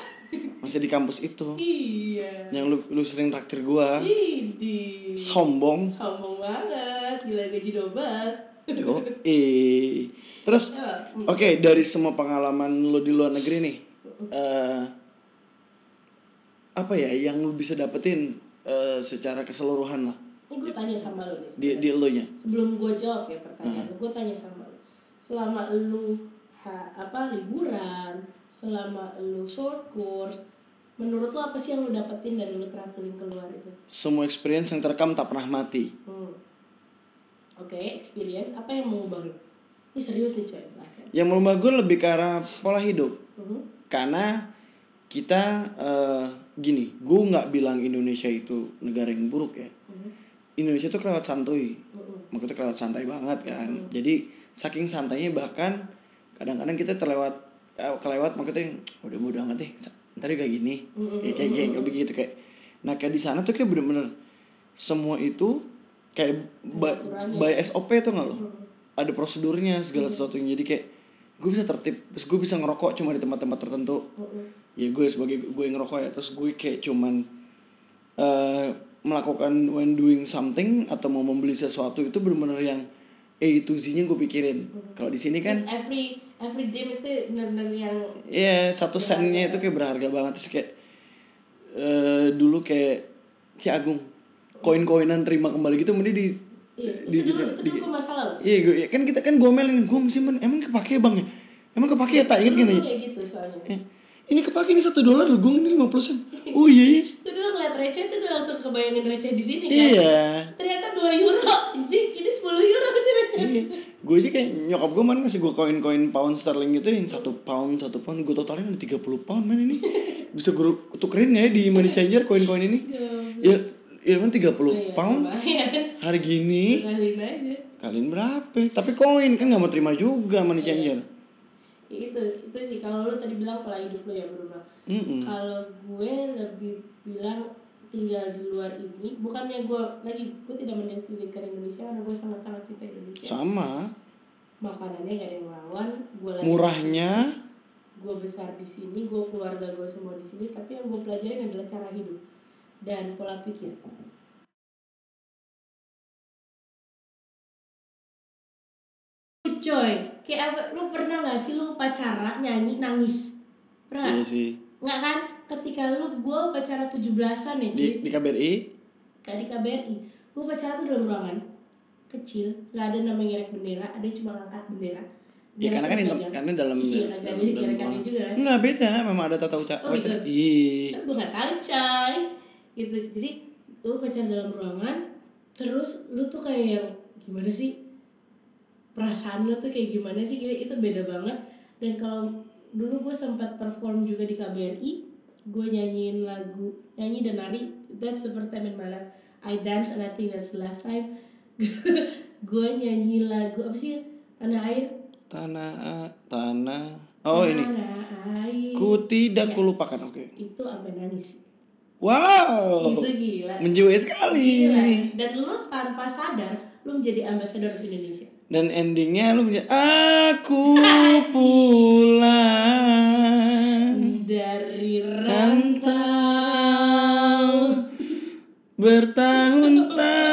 Speaker 1: masih di kampus itu.
Speaker 2: iya
Speaker 1: Yang lu lu sering traktir gua.
Speaker 2: Idi.
Speaker 1: Sombong.
Speaker 2: Sombong banget, gila gaji double.
Speaker 1: Yo, eh. Terus
Speaker 2: Eh, mm.
Speaker 1: Oke, dari semua pengalaman lo di luar negeri nih, eh apa ya yang lo bisa dapetin eh, secara keseluruhan lah
Speaker 2: Ini gue tanya sama lo nih.
Speaker 1: di di lo nya?
Speaker 2: Sebelum gue jawab ya pertanyaan lo, gue tanya sama lo. Selama lo ha, apa liburan, selama lo short course, menurut lo apa sih yang lo dapetin dan lo terapin keluar itu
Speaker 1: Semua experience yang terekam tak pernah mati.
Speaker 2: hmm. oke experience apa yang mengubah lo ini serius nih coy bahasan
Speaker 1: Yang merubah gue lebih ke arah pola hidup.
Speaker 2: Mhm.
Speaker 1: Karena kita eh, gini, gue nggak bilang Indonesia itu negara yang buruk ya.
Speaker 2: Mhm.
Speaker 1: Indonesia tuh kelewat santuy.
Speaker 2: Mhm.
Speaker 1: Maksudnya kelewat santai banget kan.
Speaker 2: Hmm.
Speaker 1: Jadi saking santainya bahkan kadang-kadang kita terlewat eh, kelewat maksudnya yang, udah udah amat deh. Ntar juga kayak gini.
Speaker 2: Mhm.
Speaker 1: kayak kayak kayak kayak begitu kayak nah kayak di sana tuh kayak bener-bener semua itu kayak by,
Speaker 2: Aturannya.
Speaker 1: by SOP tuh nggak lo
Speaker 2: Mhm.
Speaker 1: ada prosedurnya segala sesuatu jadi kayak gue bisa tertib terus gue bisa ngerokok cuma di tempat-tempat tertentu
Speaker 2: Mhm.
Speaker 1: ya gue sebagai gue yang ngerokok ya terus gue kayak cuman eh, melakukan when doing something atau mau membeli sesuatu itu bener-bener yang A to Z-nya gue pikirin kalau di sini kan
Speaker 2: Terus every every dream itu benar-benar yang
Speaker 1: Iya satu
Speaker 2: ya.
Speaker 1: sennya itu kayak berharga banget terus kayak eh, dulu kayak si Agung koin-koinan terima kembali gitu mending di
Speaker 2: iya,
Speaker 1: di
Speaker 2: itu dulu
Speaker 1: gitu,
Speaker 2: itu
Speaker 1: di-
Speaker 2: dulu gue masalah lo
Speaker 1: iya gue iya, kan kita kan gomelin gue mesti men emang kepake bang ya emang kepake ya tak inget kan
Speaker 2: Dulu
Speaker 1: ya
Speaker 2: kayak gitu soalnya
Speaker 1: Eh, ini kepake ini satu dolar loh gong ini lima puluh sen oh iya iya
Speaker 2: itu dulu ngeliat receh itu gue langsung kebayangin receh di sini kan
Speaker 1: iya
Speaker 2: ternyata 2 euro anjing ini 10 euro ini receh
Speaker 1: Iya. gue aja kayak nyokap gue mana ngasih gue koin-koin pound sterling gitu yang satu pound satu pound gue totalin ada 30 pound man ini bisa gue tukerin nggak ya di money changer koin-koin ini ya ya kan 30
Speaker 2: Iya,
Speaker 1: pound Iya.
Speaker 2: lumayan.
Speaker 1: hari gini
Speaker 2: Kaliin aja
Speaker 1: kalian berapa tapi koin kan nggak mau terima juga
Speaker 2: Iya.
Speaker 1: money changer
Speaker 2: Ya, itu itu sih kalau lu tadi bilang pola hidup lu ya berubah
Speaker 1: Mm-mm.
Speaker 2: kalau gue lebih bilang tinggal di luar ini bukannya gue lagi gue tidak mendiskreditkan Indonesia karena gue sangat sangat cinta Indonesia
Speaker 1: sama
Speaker 2: makanannya gak ada yang lawan gue lagi
Speaker 1: murahnya
Speaker 2: gue besar di sini gue keluarga gue semua di sini tapi yang gue pelajarin adalah cara hidup dan pola pikir Lu, coy kayak apa lu pernah gak sih lu pacara nyanyi nangis pernah
Speaker 1: iya
Speaker 2: nggak?
Speaker 1: sih
Speaker 2: nggak kan ketika lu gue pacara 17an ya cuy
Speaker 1: di, di KBRI
Speaker 2: dari KBRI gue pacara tuh dalam ruangan kecil nggak ada nama ngerek bendera ada yang cuma ngangkat bendera
Speaker 1: ya karena kan
Speaker 2: itu
Speaker 1: inter- karena dalam
Speaker 2: iya
Speaker 1: dalam,
Speaker 2: kagak ada
Speaker 1: dalam,
Speaker 2: yang gerekannya
Speaker 1: ruangan.
Speaker 2: juga kan
Speaker 1: nggak beda memang ada tata uca Iya.
Speaker 2: Oh, gitu.
Speaker 1: Ih.
Speaker 2: gue nggak tahu coy gitu jadi lu pacar dalam ruangan terus lu tuh kayak yang gimana sih perasaan lu tuh kayak gimana sih kayak itu beda banget dan kalau dulu gue sempat perform juga di KBRI gue nyanyiin lagu nyanyi dan nari that's the first time in my life I dance and I think that's the last time gue nyanyi lagu apa sih tanah air
Speaker 1: tanah a- tanah oh ini
Speaker 2: tanah air
Speaker 1: ku tidak
Speaker 2: Iya.
Speaker 1: kulupakan oke
Speaker 2: itu sampai nangis
Speaker 1: wow
Speaker 2: itu Gitu, gila
Speaker 1: menjiwai sekali
Speaker 2: Gila. Dan lu tanpa sadar lu menjadi ambassador of Indonesia.
Speaker 1: dan endingnya lu punya aku pulang
Speaker 2: Dari
Speaker 1: Kan?
Speaker 2: rantau
Speaker 1: rantau bertahun-tahun